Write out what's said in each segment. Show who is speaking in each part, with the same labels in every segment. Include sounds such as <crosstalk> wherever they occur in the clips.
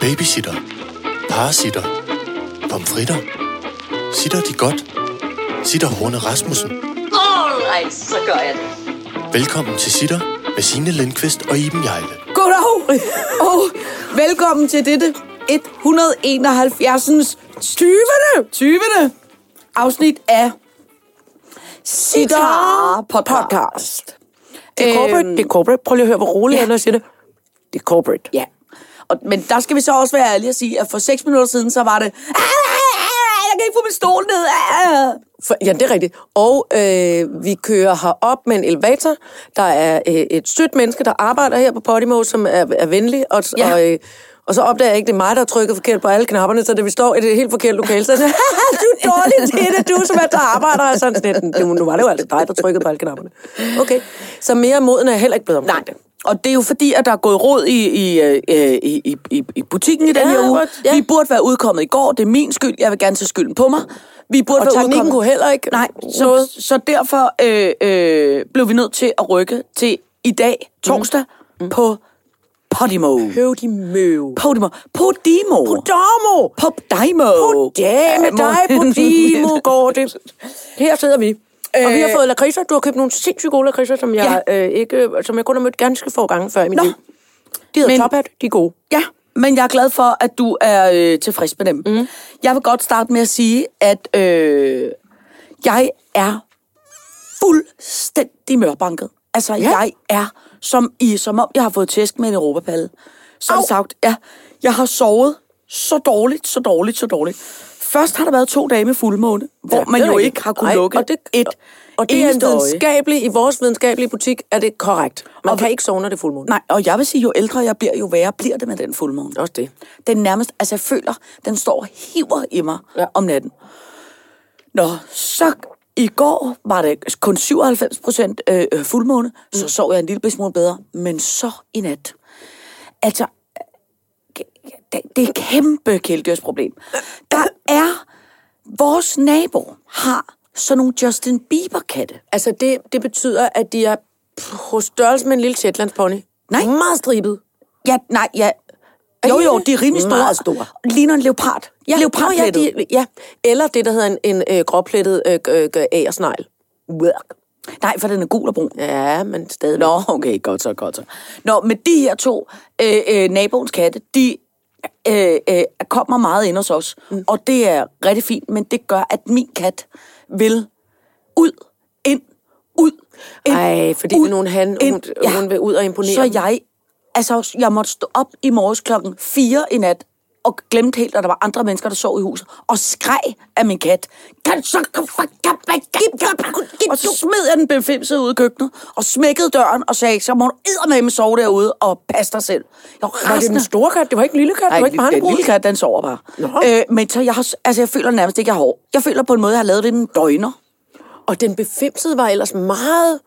Speaker 1: Babysitter. Parasitter. Pomfritter. Sitter de godt? Sitter Horne Rasmussen.
Speaker 2: Alright, så gør jeg det.
Speaker 1: Velkommen til Sitter med Signe Lindqvist og Iben Jejle.
Speaker 3: Goddag, og velkommen til dette 171. 20. 20. afsnit af Sitter Podcast. Øhm.
Speaker 4: Det er corporate, det er corporate. Prøv lige at høre, hvor roligt
Speaker 3: ja.
Speaker 4: ja. jeg siger det. Det er corporate.
Speaker 3: Ja. Og, men der skal vi så også være ærlige og sige, at for 6 minutter siden, så var det... Jeg kan ikke få min stol ned.
Speaker 4: For, ja, det er rigtigt. Og øh, vi kører herop med en elevator. Der er øh, et sødt menneske, der arbejder her på Podimo, som er, er venlig. Og,
Speaker 3: Ja.
Speaker 4: ja. og, øh, og så opdager jeg ikke, det er mig, der har trykket forkert på alle knapperne, så da vi står i det <laughs> helt forkerte lokale, så er jeg sådan, "Haha, du er dårlig til det, du som er der arbejder. Og sådan sådan, lidt, "Nu- nu var det jo altså dig, der trykkede på alle knapperne. Okay, så mere moden er jeg heller ikke blevet omkring
Speaker 3: Nej, og det er jo fordi, at der er gået råd i, i, øh, i, i, i, i butikken i den
Speaker 4: Ja,
Speaker 3: her uge.
Speaker 4: ja.
Speaker 3: Vi burde være udkommet i går. Det er min skyld. Jeg vil gerne tage skylden på mig. Vi burde
Speaker 4: Og
Speaker 3: være
Speaker 4: teknikken
Speaker 3: udkommet.
Speaker 4: kunne heller ikke
Speaker 3: Nej, så,
Speaker 4: noget.
Speaker 3: så derfor øh, øh, blev vi nødt til at rykke til i dag,
Speaker 4: Mhm.
Speaker 3: torsdag, mm. på Podimo.
Speaker 4: Høv de møv.
Speaker 3: Podimo. Podimo.
Speaker 4: Domo!
Speaker 3: Podimo.
Speaker 4: Goddag med dig,
Speaker 3: <laughs>
Speaker 4: Podimo, går det. Her sidder vi. Og vi har
Speaker 3: Øh,
Speaker 4: fået lakridser. Du har købt nogle sindssygt gode lakridser, som jeg, ja. øh, ikke, øh, som jeg kun har mødt ganske få gange før i mit
Speaker 3: Nå.
Speaker 4: liv. De hedder
Speaker 3: Men-
Speaker 4: Men... Top Hat, de er gode.
Speaker 3: Ja, men jeg er glad for, at du er øh, tilfreds med dem. Mm. Jeg vil godt starte med at sige, at øh, jeg er fuldstændig mørbanket. Altså, ja. jeg er som, i, som om, jeg har fået tæsk med en europapalle. Som Au. sagt, ja, jeg har sovet så dårligt, så dårligt, så dårligt. Først har der været to dage med fuldmåne, hvor
Speaker 4: Ja,
Speaker 3: ja, man
Speaker 4: det er
Speaker 3: jo
Speaker 4: rigtigt.
Speaker 3: ikke har kunnet
Speaker 4: Nej,
Speaker 3: lukke
Speaker 4: og det-
Speaker 3: et
Speaker 4: Og det er en
Speaker 3: eneste øje.
Speaker 4: videnskabelig, i vores videnskabelige butik er det korrekt. Man
Speaker 3: Og
Speaker 4: og kan
Speaker 3: vi-
Speaker 4: ikke sove, når det er fuldmåne.
Speaker 3: Nej, og jeg vil sige, jo ældre jeg bliver, jo værre bliver det med den fuldmåne.
Speaker 4: Også det.
Speaker 3: Den nærmest, altså jeg føler, den står og hiver i mig ja.
Speaker 4: Ja.
Speaker 3: om natten. Nå, så i går var det kun 97 procent øh, øh, fuldmåne, så
Speaker 4: Mm.
Speaker 3: sov jeg en lille smule bedre, men så i nat. Altså, øh, det, det er et kæmpe kæledyrsproblem. Der er, vores nabo har sådan nogle Justin Bieber-katte.
Speaker 4: Altså, det, det betyder, at de er på størrelse med en lille Shetlandspony.
Speaker 3: Nej.
Speaker 4: Meget stribet.
Speaker 3: Ja, nej, ja.
Speaker 4: Er
Speaker 3: Jo,
Speaker 4: de
Speaker 3: jo,
Speaker 4: det?
Speaker 3: de er rimelig store.
Speaker 4: Meget store.
Speaker 3: Ligner en leopard.
Speaker 4: Ja, nå, ja,
Speaker 3: Leopardplettet.
Speaker 4: de, ja, eller det, der hedder en, en øh, gråplettet øh, øh, øh, æresnegl.
Speaker 3: Nej, for den er gul og brun.
Speaker 4: Ja, men stadig.
Speaker 3: Nå, okay, godt så, godt så. Nå, men de her to øh, øh, naboens katte, de øh, øh, kommer meget ind hos os. Mm. Og det er rigtig fint, men det gør, at min kat vil ud, ind, ud, ind.
Speaker 4: Ej, fordi
Speaker 3: ud,
Speaker 4: nogen han, hun,
Speaker 3: ind. Ja.
Speaker 4: hun vil ud og imponere.
Speaker 3: Så jeg, altså, jeg måtte stå op i morges klokken 4 i nat, og glemte helt, at der var andre mennesker, der sov i huset, og skreg af min kat. Kan så Og så smed jeg den befimsede ud i køkkenet, og smækkede døren og sagde, så må du eddermame sove derude og passe dig selv. Jeg var
Speaker 4: var det den
Speaker 3: rasende.
Speaker 4: store kat? Det var ikke en lille kat?
Speaker 3: Ej,
Speaker 4: det var ikke
Speaker 3: den lille
Speaker 4: barnebrud?
Speaker 3: kat, den sover bare.
Speaker 4: Nå.
Speaker 3: Øh, men så jeg, har, altså, jeg føler nærmest ikke, jeg har hår. Jeg føler på en måde, jeg har lavet det en døgner.
Speaker 4: Og den befimsede var ellers meget,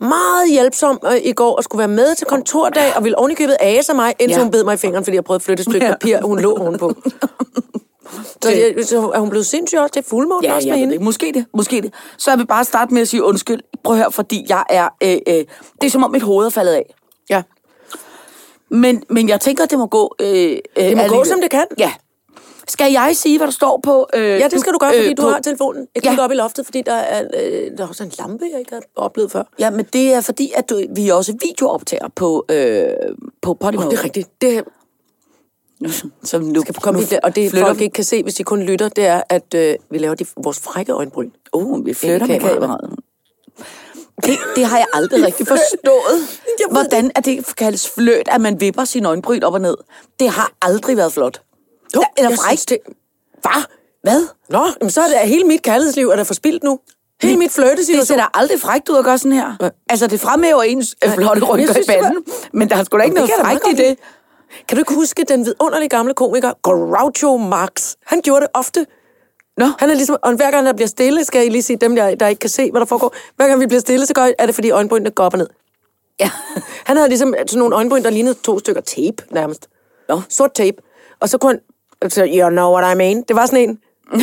Speaker 4: meget hjælpsom øh, i går og skulle være med til kontordag og ville ovenikøbet ase af mig, indtil
Speaker 3: Ja.
Speaker 4: ja. hun bed mig i fingeren, fordi jeg prøvede at flytte et stykke
Speaker 3: Ja.
Speaker 4: papir, hun lå
Speaker 3: <laughs>
Speaker 4: ovenpå. så, jeg, så er hun blevet sindssyg også? Det er fuldmåne
Speaker 3: Ja,
Speaker 4: også
Speaker 3: jeg
Speaker 4: med
Speaker 3: ved det
Speaker 4: hende.
Speaker 3: ikke. Måske det. Måske det. Så jeg vil bare starte med at sige undskyld. Prøv at høre, fordi jeg er... Øh, øh, det er som om mit hoved er faldet af.
Speaker 4: Ja.
Speaker 3: Men, men jeg tænker, det må gå... Øh, det må
Speaker 4: gå, som det kan.
Speaker 3: Ja. Skal jeg sige, hvad der står på... Øh,
Speaker 4: Ja, det skal du gøre, fordi øh, du
Speaker 3: på-
Speaker 4: har telefonen. Jeg
Speaker 3: Ja.
Speaker 4: kigger ja. op i loftet, fordi der er, øh, der er også en lampe, jeg ikke havde oplevet før.
Speaker 3: Ja, men det er fordi, at du, vi også videooptager på, øh, på Podimo.
Speaker 4: Oh, det er rigtigt. Det,
Speaker 3: <laughs> Som nu, skal
Speaker 4: Kom lige der, og det folk ikke kan se, hvis de kun lytter, det er, at øh, vi laver de, vores frække øjenbryn.
Speaker 3: Oh, vi flytter med
Speaker 4: Ind i kameraet.
Speaker 3: kameraet. Det, det har jeg
Speaker 4: <laughs>
Speaker 3: aldrig rigtig forstået.
Speaker 4: Jeg ved
Speaker 3: Hvordan er det kaldes fløt, at man vipper sin øjenbryn op og ned? Det har aldrig været flot.
Speaker 4: Jo,
Speaker 3: Der- eller
Speaker 4: jeg synes,
Speaker 3: frækt.
Speaker 4: det... Hvad?
Speaker 3: Hvad?
Speaker 4: Nå, jamen, så er det hele mit kærlighedsliv er der forspildt nu. Hele mit
Speaker 3: Det
Speaker 4: flirtesituation.
Speaker 3: ser da aldrig frækt ud at gøre sådan her.
Speaker 4: Nej.
Speaker 3: Altså, det fremhæver ens øh,
Speaker 4: Men
Speaker 3: flotte
Speaker 4: jeg
Speaker 3: rynker i
Speaker 4: synes, det var-
Speaker 3: panden. Men der er sgu da
Speaker 4: Jamen,
Speaker 3: ikke noget
Speaker 4: det kan jeg da
Speaker 3: frækt i
Speaker 4: meget
Speaker 3: det.
Speaker 4: Kan du ikke huske den vidunderlige gamle komiker, Groucho Marx? Han gjorde det ofte.
Speaker 3: Nå.
Speaker 4: Han er ligesom, og hver gang der bliver stille, skal I lige sige dem, der, der ikke kan se, hvad der foregår. Hver gang vi bliver stille, så gør, er det, fordi øjenbrynene går op og ned.
Speaker 3: Ja.
Speaker 4: Han havde ligesom sådan nogle øjenbryn, der lignede to stykker tape nærmest.
Speaker 3: Nå.
Speaker 4: Sort tape. Og så kunne han, så, you know what I mean. Det var
Speaker 5: <laughs>
Speaker 4: sådan en,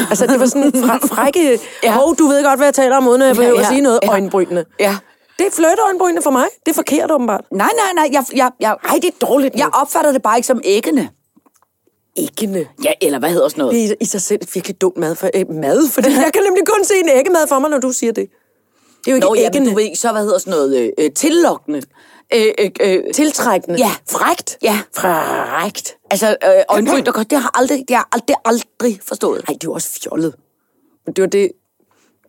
Speaker 4: altså det var sådan en fra, frække,
Speaker 3: Ja.
Speaker 4: ja. oh, du ved godt, hvad jeg taler om, uden at jeg behøver
Speaker 3: ja,
Speaker 4: at sige noget,
Speaker 3: ja.
Speaker 4: øjenbrynene.
Speaker 3: Ja.
Speaker 4: Det er flirteøjenbrynene for mig. Det er forkert åbenbart.
Speaker 3: Nej, nej, nej. Jeg, jeg, jeg,
Speaker 4: Ej, det er dårligt.
Speaker 3: jeg opfatter det bare ikke som æggene.
Speaker 5: æggene.
Speaker 3: Ja, eller hvad hedder sådan noget?
Speaker 5: Det er i sig selv virkelig dum mad. For, øh, mad,
Speaker 4: <laughs>
Speaker 5: fordi jeg kan nemlig kun se en æggemad for mig, når du siger det. Det er jo ikke
Speaker 3: Nå,
Speaker 5: Nå,
Speaker 3: ja,
Speaker 5: æggene.
Speaker 3: men du ved, så hvad hedder sådan noget? Øh, øh, tillokkende. Øh, øh, øh,
Speaker 5: Tiltrækkende.
Speaker 3: Ja.
Speaker 5: Frægt.
Speaker 3: Ja.
Speaker 5: Frægt.
Speaker 3: altså, øh, øjenbryn, der går, det har jeg aldrig, det har jeg aldrig, aldrig forstået.
Speaker 5: Nej, det er jo også fjollet. Men det var det...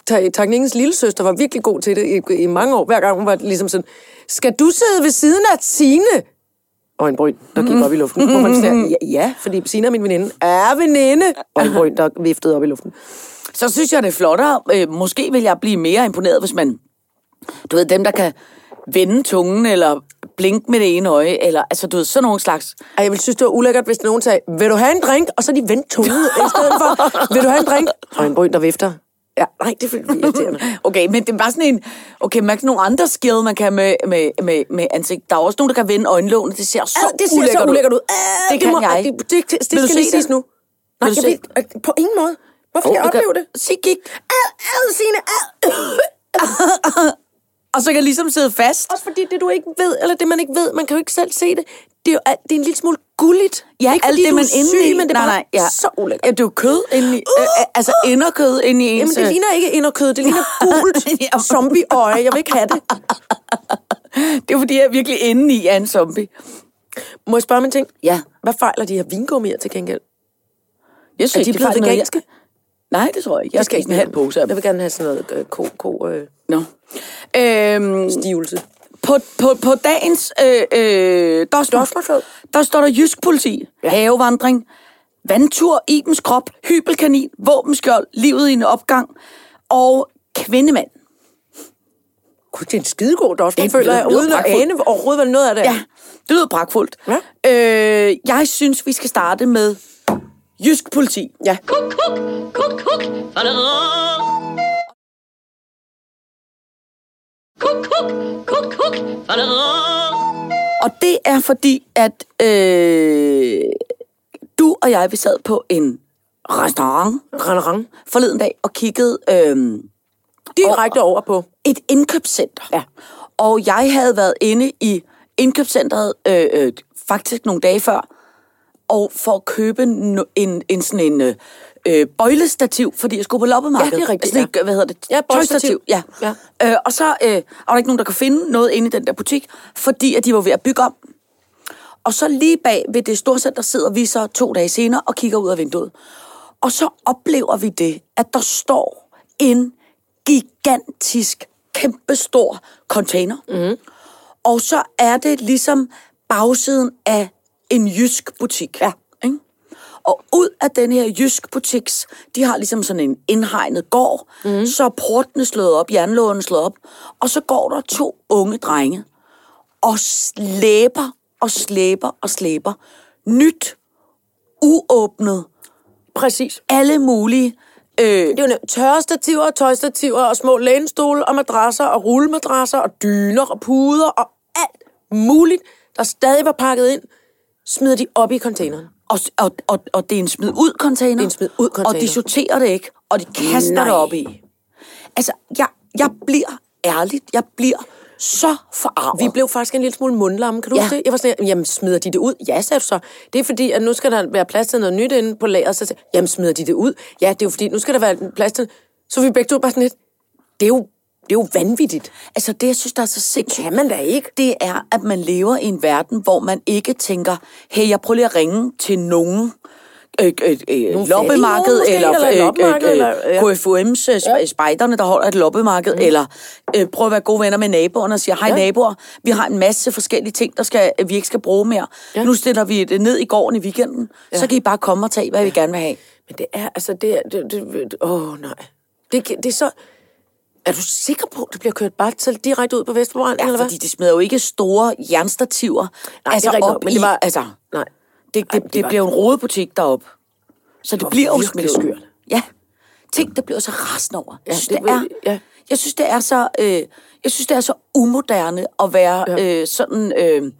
Speaker 5: Ta- Takningens lille søster var virkelig god til det i, i mange år. Hver gang hun var ligesom sådan, skal du sidde ved siden af Tine? Og en bryn, der gik op i luften. Hvor man sådan, ja, ja, fordi Sina er min veninde. Er veninde! Og en bryn, der viftede op i luften.
Speaker 3: så synes jeg, det er flottere. Øh, måske vil jeg blive mere imponeret, hvis man... Du ved, dem, der kan vende tungen, eller blinke med det ene øje, eller altså, du ved, sådan nogle slags...
Speaker 5: Ej, jeg ville synes, det var ulækkert, hvis nogen sagde, vil du have en drink? Og så de vendte tungen i stedet for, vil du have en drink? Og en bryn, der vifter. Ja, nej, det ville blive irriterende.
Speaker 3: <laughs> Okay, men det er bare sådan en... Okay, man kan nogle andre skill, man kan med, med, med, med ansigt. Der er også nogen, der kan vende øjenlågene. Det ser så,
Speaker 5: Ad, det ser
Speaker 3: ulækkert
Speaker 5: så ulækkert ud. Ad,
Speaker 3: det kan
Speaker 5: må,
Speaker 3: jeg
Speaker 5: Det,
Speaker 3: ikke.
Speaker 5: det, det, det
Speaker 3: Vil du
Speaker 5: skal lige
Speaker 3: se
Speaker 5: siges
Speaker 3: det?
Speaker 5: nu. Nej,
Speaker 3: du
Speaker 5: jeg
Speaker 3: se
Speaker 5: ved, øh, på ingen måde. Hvorfor
Speaker 3: Åh,
Speaker 5: skal jeg
Speaker 3: det kan-
Speaker 5: opleve det?
Speaker 3: Se, gik.
Speaker 5: Ad, ad, Signe, ad.
Speaker 3: Og så kan jeg ligesom sidde fast.
Speaker 5: Også fordi det, du ikke ved, eller det, man ikke ved, man kan jo ikke selv se det. Det er, jo, alt- det er en lille smule gulligt.
Speaker 3: Ja,
Speaker 5: ikke
Speaker 3: ikke alt
Speaker 5: fordi
Speaker 3: det,
Speaker 5: du
Speaker 3: man
Speaker 5: er
Speaker 3: inde
Speaker 5: syg,
Speaker 3: i.
Speaker 5: men det er
Speaker 3: nej,
Speaker 5: bare
Speaker 3: nej, ja.
Speaker 5: så ulækkert.
Speaker 3: Ja, det er jo kød inde i. Øh, øh, altså, inderkød inde i ens...
Speaker 5: Jamen, det
Speaker 3: øh,
Speaker 5: ligner ikke inderkød, det ligner gult
Speaker 3: <laughs> Ja.
Speaker 5: zombieøje. Jeg vil ikke have det.
Speaker 3: <laughs> det er fordi, jeg er virkelig inde i er en zombie.
Speaker 5: Må jeg spørge om en ting?
Speaker 3: Ja.
Speaker 5: Hvad fejler de her vingummier til gengæld?
Speaker 3: Jeg
Speaker 5: Er
Speaker 3: synes,
Speaker 5: de
Speaker 3: ikke,
Speaker 5: blevet
Speaker 3: fejler noget.
Speaker 5: veganske?
Speaker 3: Nej, det tror jeg ikke. Jeg skal ikke en halv pose af
Speaker 5: Jeg
Speaker 3: dem.
Speaker 5: vil gerne have sådan noget øh, ko, ko øh,
Speaker 3: Nå. Øhm,
Speaker 5: stivelse.
Speaker 3: på, på, på dagens øh, øh, dosmer,
Speaker 5: Dosmerflod.
Speaker 3: der står der jysk politi, ja. havevandring, vandtur, Ibens krop, hybelkanin, våbenskjold, livet i en opgang og kvindemand.
Speaker 5: Gud, det er en skidegod dosmer,
Speaker 3: Det
Speaker 5: føler jeg,
Speaker 3: lyder
Speaker 5: uden at
Speaker 3: pragtfuldt.
Speaker 5: ane overhovedet, hvad noget af det er.
Speaker 3: Ja, det lyder pragtfuldt.
Speaker 5: Ja.
Speaker 3: Øh, jeg synes, vi skal starte med jysk politi.
Speaker 5: ja.
Speaker 2: Kuk, kuk, kuk, kuk. Faderor. Kuk, kuk, kuk, kuk. Faderor.
Speaker 3: Og det er fordi, at øh, du og jeg, vi sad på en restaurant
Speaker 5: Rang,
Speaker 3: forleden dag og kiggede øh,
Speaker 5: Direkte over på.
Speaker 3: et indkøbscenter. Ja. Og jeg havde været inde i indkøbscenteret øh, øh, faktisk nogle dage før, og for at købe no, en, en sådan en øh, øh, bøjlestativ, fordi jeg skulle på loppemarkedet.
Speaker 5: Ja, det er rigtigt,
Speaker 3: Sådan et, øh, hvad hedder det?
Speaker 5: Ja,
Speaker 3: Tøjstativ,
Speaker 5: bøjlestativ.
Speaker 3: Ja.
Speaker 5: Ja.
Speaker 3: Øh, og så øh, var der ikke nogen, der kunne finde noget inde i den der butik, fordi at de var ved at bygge om. Og så lige bag ved det storcenter sidder vi så to dage senere og kigger ud af vinduet. Og så oplever vi det, at der står en gigantisk, kæmpestor container. Mm. Og så er det ligesom bagsiden af en jysk butik. Ja. Ikke? Og ud af den her jysk butiks, de har ligesom sådan en indhegnet gård, mm. så er portene slået op, jernlågen slået op, og så går der to unge drenge og slæber og slæber og slæber nyt, uåbnet,
Speaker 5: Præcis.
Speaker 3: alle mulige... Øh,
Speaker 5: Det er jo nemt. tørrestativer og tøjstativer og små lænestole og madrasser og rullemadrasser og dyner og puder og alt muligt, der stadig var pakket ind, smider de op i containeren.
Speaker 3: og, og, og, og det er en smid ud container.
Speaker 5: Det er en smid ud container.
Speaker 3: Og de sorterer det ikke, og de kaster Nej.
Speaker 5: Nej.
Speaker 3: det op i. Altså, jeg, jeg bliver ærligt, jeg bliver så forarvet.
Speaker 5: Vi blev faktisk en lille smule mundlamme, kan du
Speaker 3: Ja.
Speaker 5: ja. huske det? Jeg var sådan, jamen smider de det ud? Ja, sagde du så. Det er fordi, at nu skal der være plads til noget nyt inde på lageret. Så sagde jeg, jamen smider de det ud? Ja, det er jo fordi, nu skal der være plads til... Så vi begge to bare sådan lidt, det er jo, det er jo vanvittigt.
Speaker 3: Altså det, jeg synes, der er så sindssygt.
Speaker 5: kan man da ikke.
Speaker 3: Det er, at man lever i en verden, hvor man ikke tænker, hey, jeg prøver lige at ringe til nogen, øh, øh, øh,
Speaker 5: nogen
Speaker 3: loppemarked,
Speaker 5: måske,
Speaker 3: eller,
Speaker 5: eller et loppemarked,
Speaker 3: øh,
Speaker 5: eller-
Speaker 3: øh,
Speaker 5: ja.
Speaker 3: KFUM's øh, sp- spejderne, der holder et loppemarked, mm. eller øh, prøve at være gode venner med naboerne og sige, hej ja. naboer, vi har en masse forskellige ting, der skal, vi ikke skal bruge mere. Ja. Nu stiller vi det ned i gården i weekenden, ja. så kan I bare komme og tage, hvad ja. vi gerne vil have.
Speaker 5: Men det er, altså, det er... Det, det, det, åh, nej. Det, kan- det er så... Er du sikker på, at det bliver kørt bare til direkte ud på Vesterbrænd,
Speaker 3: Ja,
Speaker 5: eller hvad?
Speaker 3: fordi de smider jo ikke store jernstativer
Speaker 5: Nej,
Speaker 3: altså
Speaker 5: det er rigtigt
Speaker 3: op
Speaker 5: nok, men
Speaker 3: i,
Speaker 5: det var-
Speaker 3: altså,
Speaker 5: Nej.
Speaker 3: Det,
Speaker 5: Ej,
Speaker 3: det, det,
Speaker 5: men det
Speaker 3: det
Speaker 5: var-
Speaker 3: bliver jo en rodebutik derop. Så det,
Speaker 5: var
Speaker 3: bliver jo
Speaker 5: virkelig
Speaker 3: smidt ud.
Speaker 5: skørt.
Speaker 3: Ja. Ting, der bliver så rasende over. Ja, jeg, synes,
Speaker 5: det
Speaker 3: det er,
Speaker 5: vil- ja.
Speaker 3: jeg synes, det er så... Øh, jeg synes, det er så umoderne at være ja. øh, sådan øh,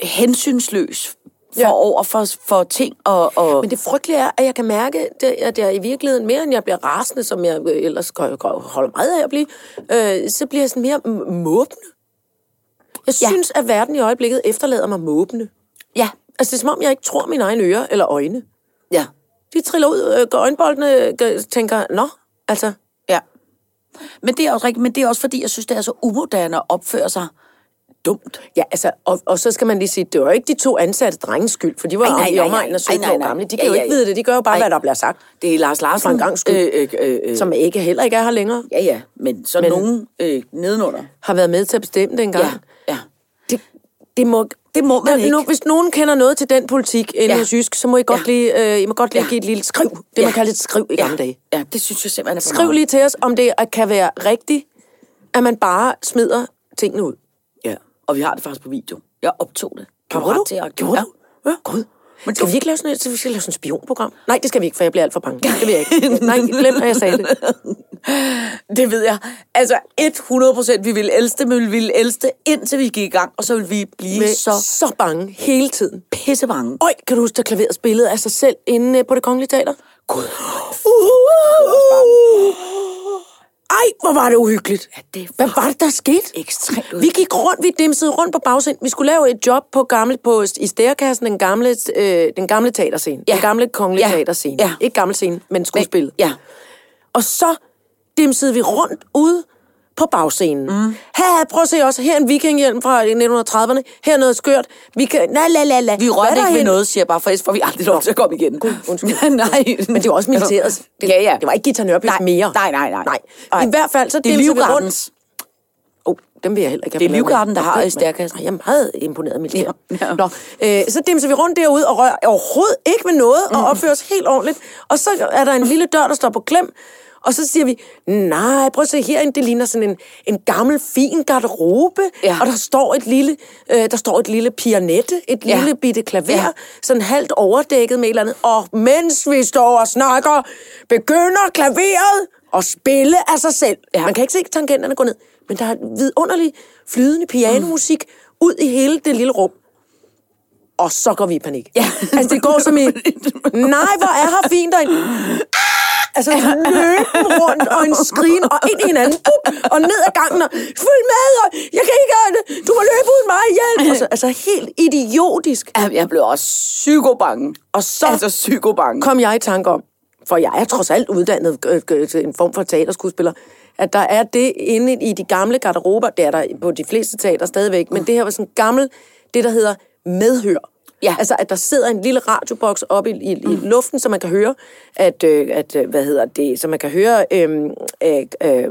Speaker 3: hensynsløs for ja.
Speaker 5: Ja.
Speaker 3: over for, for ting og... og
Speaker 5: Men det frygtelige er, at jeg kan mærke, det, at jeg i virkeligheden mere, end jeg bliver rasende, som jeg øh, ellers går- går- holder meget af at blive, øh, så bliver jeg sådan mere m- måbende. Jeg
Speaker 3: Ja.
Speaker 5: ja. synes, at verden i øjeblikket efterlader mig måbende.
Speaker 3: ja,
Speaker 5: Altså, det er som om, jeg ikke tror mine egne ører eller øjne.
Speaker 3: Ja.
Speaker 5: De triller ud, øh, går øjenboldene øh, tænker, nå, altså,
Speaker 3: Ja. Men det er også rigtigt, men det er også fordi, jeg synes, det er så umoderne at opføre sig dumt.
Speaker 5: Ja, altså, og, og så skal man lige sige, det var jo ikke de to ansatte drenges skyld, for de var
Speaker 3: Ej,
Speaker 5: jo
Speaker 3: nej,
Speaker 5: i
Speaker 3: nej,
Speaker 5: omegnen af
Speaker 3: nej.
Speaker 5: 17
Speaker 3: Ej, nej,
Speaker 5: år
Speaker 3: nej.
Speaker 5: gamle. De
Speaker 3: Ja,
Speaker 5: kan jo
Speaker 3: ja,
Speaker 5: ikke
Speaker 3: ja.
Speaker 5: vide det, de gør jo bare,
Speaker 3: Ej.
Speaker 5: hvad der bliver sagt.
Speaker 3: Det er Lars Larsen.
Speaker 5: For en gangs skyld.
Speaker 3: Øh, øh, øh,
Speaker 5: Som ikke heller ikke er her længere.
Speaker 3: Ja, ja, men så men...
Speaker 5: Men-
Speaker 3: nogen øh, nedenunder.
Speaker 5: Har været med til at bestemme dengang.
Speaker 3: Ja,
Speaker 5: Ja.
Speaker 3: ja.
Speaker 5: Det, det, må,
Speaker 3: Det må man
Speaker 5: Ja,
Speaker 3: ikke.
Speaker 5: Nu, hvis nogen kender noget til den politik inde
Speaker 3: Ja.
Speaker 5: ja. hos Jysk, så må I godt
Speaker 3: Ja.
Speaker 5: ja. lige, øh, I må godt lige
Speaker 3: Ja.
Speaker 5: ja. give et lille skriv. Det ja. man kalder et skriv i gamle
Speaker 3: ja.
Speaker 5: dage.
Speaker 3: Ja, det synes jeg simpelthen er for
Speaker 5: Skriv
Speaker 3: meget.
Speaker 5: lige til os, om det er- kan være rigtigt, at man bare smider tingene ud.
Speaker 3: Ja, og vi har det faktisk på video. Jeg optog det.
Speaker 5: Gjorde
Speaker 3: ret
Speaker 5: du?
Speaker 3: Til at...
Speaker 5: Gjorde
Speaker 3: ja.
Speaker 5: du? Ja. Gud. Men skal vi ikke lave sådan et, skal vi skal lave sådan et spionprogram? Nej, det skal vi ikke, for jeg bliver alt for bange. Det vil jeg <laughs> ikke. Nej, glem, at jeg sagde det.
Speaker 3: Det ved jeg. Altså 100 procent, vi ville elske det, men vi ville elske det, indtil vi gik i gang, og så ville vi blive
Speaker 5: Med
Speaker 3: så
Speaker 5: så, så bange hele tiden.
Speaker 3: pissebange.
Speaker 5: Øj, kan du huske, da klaveret spillede af sig selv inde øh, på det kongelige teater? Gud. Ej, hvor var det uhyggeligt.
Speaker 3: Ja, det
Speaker 5: Hvad
Speaker 3: var
Speaker 5: var det, der skete?
Speaker 3: ekstremt
Speaker 5: Vi
Speaker 3: uhyggeligt.
Speaker 5: gik rundt, vi dimsede rundt på bagscenen. Vi skulle lave et job på gamle, på, i stærkassen, den gamle, øh, den gamle teaterscene.
Speaker 3: Ja.
Speaker 5: Den gamle kongelige
Speaker 3: Ja.
Speaker 5: teaterscene.
Speaker 3: Ja.
Speaker 5: Ikke gammel scene, men skuespillet.
Speaker 3: Ja,
Speaker 5: Og så dimsede vi rundt ude på bagscenen. Mm. Her, prøv at se også. Her er en vikinghjelm fra 1930'erne. Her er noget skørt. Vi kan... Na, la, la, la.
Speaker 3: vi
Speaker 5: Hvad
Speaker 3: rørte
Speaker 5: er der
Speaker 3: ikke ved
Speaker 5: hen?
Speaker 3: noget, siger jeg bare, for ellers får vi aldrig lov til at komme igen. God, undskyld. Nej,
Speaker 5: Men det var også militæret. Det,
Speaker 3: Altså, Ja, ja.
Speaker 5: Det var ikke Gita Nørby
Speaker 3: Nej,
Speaker 5: mere.
Speaker 3: nej, nej, nej.
Speaker 5: nej. I hvert fald så
Speaker 3: det er
Speaker 5: dimsede vi rundt.
Speaker 3: livgardens.
Speaker 5: Oh, dem vil jeg heller ikke have
Speaker 3: Det er
Speaker 5: på ladet med.
Speaker 3: Livgarden, der har
Speaker 5: Nej,
Speaker 3: i stærkassen.
Speaker 5: nej, Jeg er meget imponeret med det.
Speaker 3: Ja, ja.
Speaker 5: Ja. Nå, øh, så dimser vi rundt derude og rører overhovedet ikke ved noget og opfører os helt ordentligt. Og så er der en lille dør, der står på klem. Og så siger vi, nej, prøv at se herinde, det ligner sådan en, en gammel, fin garderobe.
Speaker 3: Ja.
Speaker 5: Ja. Og der står et lille, øh, der står et lille pianette, et
Speaker 3: Ja.
Speaker 5: ja. lille bitte klaver,
Speaker 3: Ja.
Speaker 5: ja. sådan halvt overdækket med et eller andet. Og mens vi står og snakker, begynder klaveret at spille af sig selv.
Speaker 3: Ja.
Speaker 5: Ja. Man kan ikke se tangenterne gå ned, men der er vidunderlig flydende pianomusik ud i hele det lille rum. Og så går vi i panik.
Speaker 3: Ja.
Speaker 5: Altså, det går som i, nej, hvor er her fint derinde. Ah! Altså, løben rundt, og en skrigen, og ind i hinanden, Bup! og ned ad gangen, og følg med, og jeg kan ikke, øh, du må løbe uden mig, hjælp. Og så, altså, helt idiotisk.
Speaker 3: Ja, Jeg blev også psykobange. Og så altså, psykobange.
Speaker 5: kom jeg i tanke om, for jeg er trods alt uddannet øh, øh, til en form for teaterskuespiller, at der er det inde i de gamle garderober, det er der på de fleste teater stadigvæk, men det her var sådan en gammel, det der hedder medhør.
Speaker 3: Ja. Mm.
Speaker 5: Altså, at der sidder en lille radioboks oppe i, i, i luften, så man kan høre, at, øh, at øh, hvad hedder det, så man kan høre øhm, øh, øh,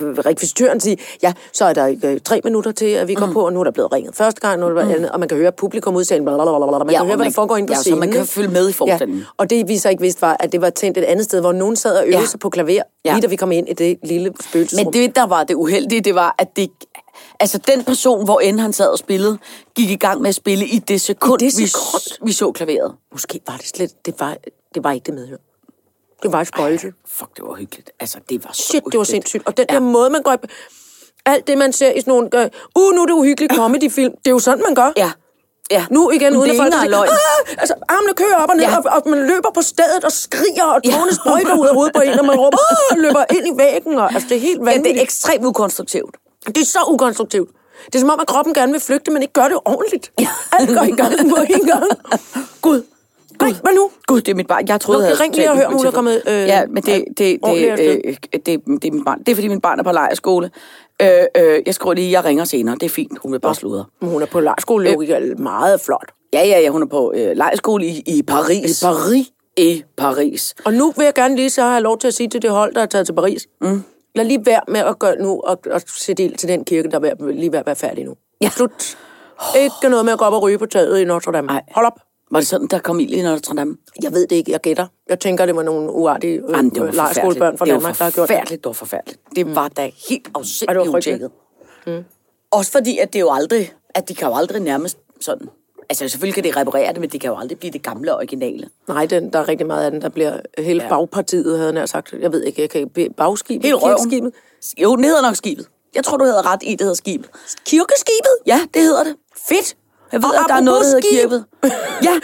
Speaker 5: rekvisitøren sige, ja, så er der øh, tre minutter til, at vi
Speaker 3: Mm.
Speaker 5: går på, og nu er der blevet ringet første gang, nu er der, mm. og man kan høre publikum udsætte, man
Speaker 3: Ja,
Speaker 5: ja, kan
Speaker 3: og
Speaker 5: høre, hvad
Speaker 3: man-
Speaker 5: der foregår inde på
Speaker 3: ja, så
Speaker 5: scenen.
Speaker 3: man kan
Speaker 5: ikke?
Speaker 3: følge med i forestillingen.
Speaker 5: Ja. Og det vi så ikke vidste var, at det var tændt et andet sted, hvor nogen sad og øvede
Speaker 3: Ja.
Speaker 5: ja. sig på klaver,
Speaker 3: Ja.
Speaker 5: ja. lige da vi kom ind i det lille spøgelsesrum.
Speaker 3: Men det, der var det uheldige, det var, at det... Altså, den person, hvor end han sad og spillede, gik i gang med at spille i det sekund,
Speaker 5: I
Speaker 3: det
Speaker 5: det
Speaker 3: sekund? Vi, s-
Speaker 5: sekund?
Speaker 3: vi så klaveret.
Speaker 5: Måske var det slet... Det var, det var ikke det medhør. Det var et spøjelse.
Speaker 3: Fuck, det var hyggeligt. Altså, det var så
Speaker 5: Shit, det var
Speaker 3: uhyggeligt.
Speaker 5: sindssygt. Og den ja. der måde, man går... i- Alt det, man ser i sådan nogle... Øh, uh, nu er det
Speaker 3: <clears throat>
Speaker 5: uhyggeligt comedy-film. Det er jo sådan, man gør.
Speaker 3: Ja. ja.
Speaker 5: Nu igen,
Speaker 3: Men
Speaker 5: uden
Speaker 3: det
Speaker 5: at
Speaker 3: er
Speaker 5: folk...
Speaker 3: ikke engang løgn.
Speaker 5: Ah! Altså, armene kører op og ned,
Speaker 3: Ja.
Speaker 5: ja. og, og, man løber på stedet og skriger, og tårne ja. sprøjter ud af hovedet på en, og man råber, ah! og løber ind i væggen, og altså, det er helt
Speaker 3: Ja,
Speaker 5: vanvittigt.
Speaker 3: det er ekstremt ukonstruktivt.
Speaker 5: Det er så ukonstruktivt. Det er som om, at kroppen gerne vil flygte, men ikke gør det ordentligt. Alt går i gang på en gang.
Speaker 3: Gud.
Speaker 5: Nej, hvad nu?
Speaker 3: Gud, det er mit barn. Jeg troede,
Speaker 5: Nå,
Speaker 3: jeg havde
Speaker 5: ring lige og
Speaker 3: talt
Speaker 5: hør, om hun er kommet, øh,
Speaker 3: ja, men det, det, det,
Speaker 5: ordentligt
Speaker 3: det, øh, det, det, er mit barn. Det er, fordi min barn er på lejerskole. Øh, øh, jeg skriver lige, jeg ringer senere. Det er fint. Hun vil bare sludre.
Speaker 5: Men Hun er på lejrskole, det er jo meget flot.
Speaker 3: Ja, ja, ja. Hun er på øh, lejerskole i, i Paris.
Speaker 5: I Paris.
Speaker 3: I Paris.
Speaker 5: Og nu vil jeg gerne lige så have lov til at sige til det hold, der er taget til Paris. Mm. Lad lige være med at gøre nu og, og sætte ild til den kirke, der er ved- lige ved at være færdig nu.
Speaker 3: Ja.
Speaker 5: Slut. Ikke noget med at gå op og ryge på taget i Notre Dame.
Speaker 3: Nej.
Speaker 5: Hold op.
Speaker 3: Var det sådan, der kom ild i Notre Dame?
Speaker 5: Jeg ved det ikke, jeg gætter. Jeg tænker, det var nogle uartige øh,
Speaker 3: Jamen, det var
Speaker 5: lejrskolebørn fra Danmark, der har gjort
Speaker 3: det.
Speaker 5: det.
Speaker 3: var forfærdeligt, Det var forfærdeligt. Det var da helt
Speaker 5: Og det var
Speaker 3: afsindigt
Speaker 5: frygteligt.
Speaker 3: utjekket. Mm. Også fordi, at det jo aldrig, at de kan jo aldrig nærmest sådan. Altså selvfølgelig kan de reparere det, men det kan jo aldrig blive det gamle originale.
Speaker 5: Nej, den, der er rigtig meget af den, der bliver hele
Speaker 3: Ja.
Speaker 5: ja. bagpartiet, havde jeg nær sagt. Jeg ved ikke, jeg kan be- bagskibet,
Speaker 3: Helt røven.
Speaker 5: kirkeskibet.
Speaker 3: Jo, den hedder nok skibet. Jeg tror, du havde ret i, det hedder skibet. Kirkeskibet? Ja, det hedder det. Fedt. Jeg ved,
Speaker 5: Og
Speaker 3: at der er noget, der hedder
Speaker 5: apropos skib.
Speaker 3: kirket. ja.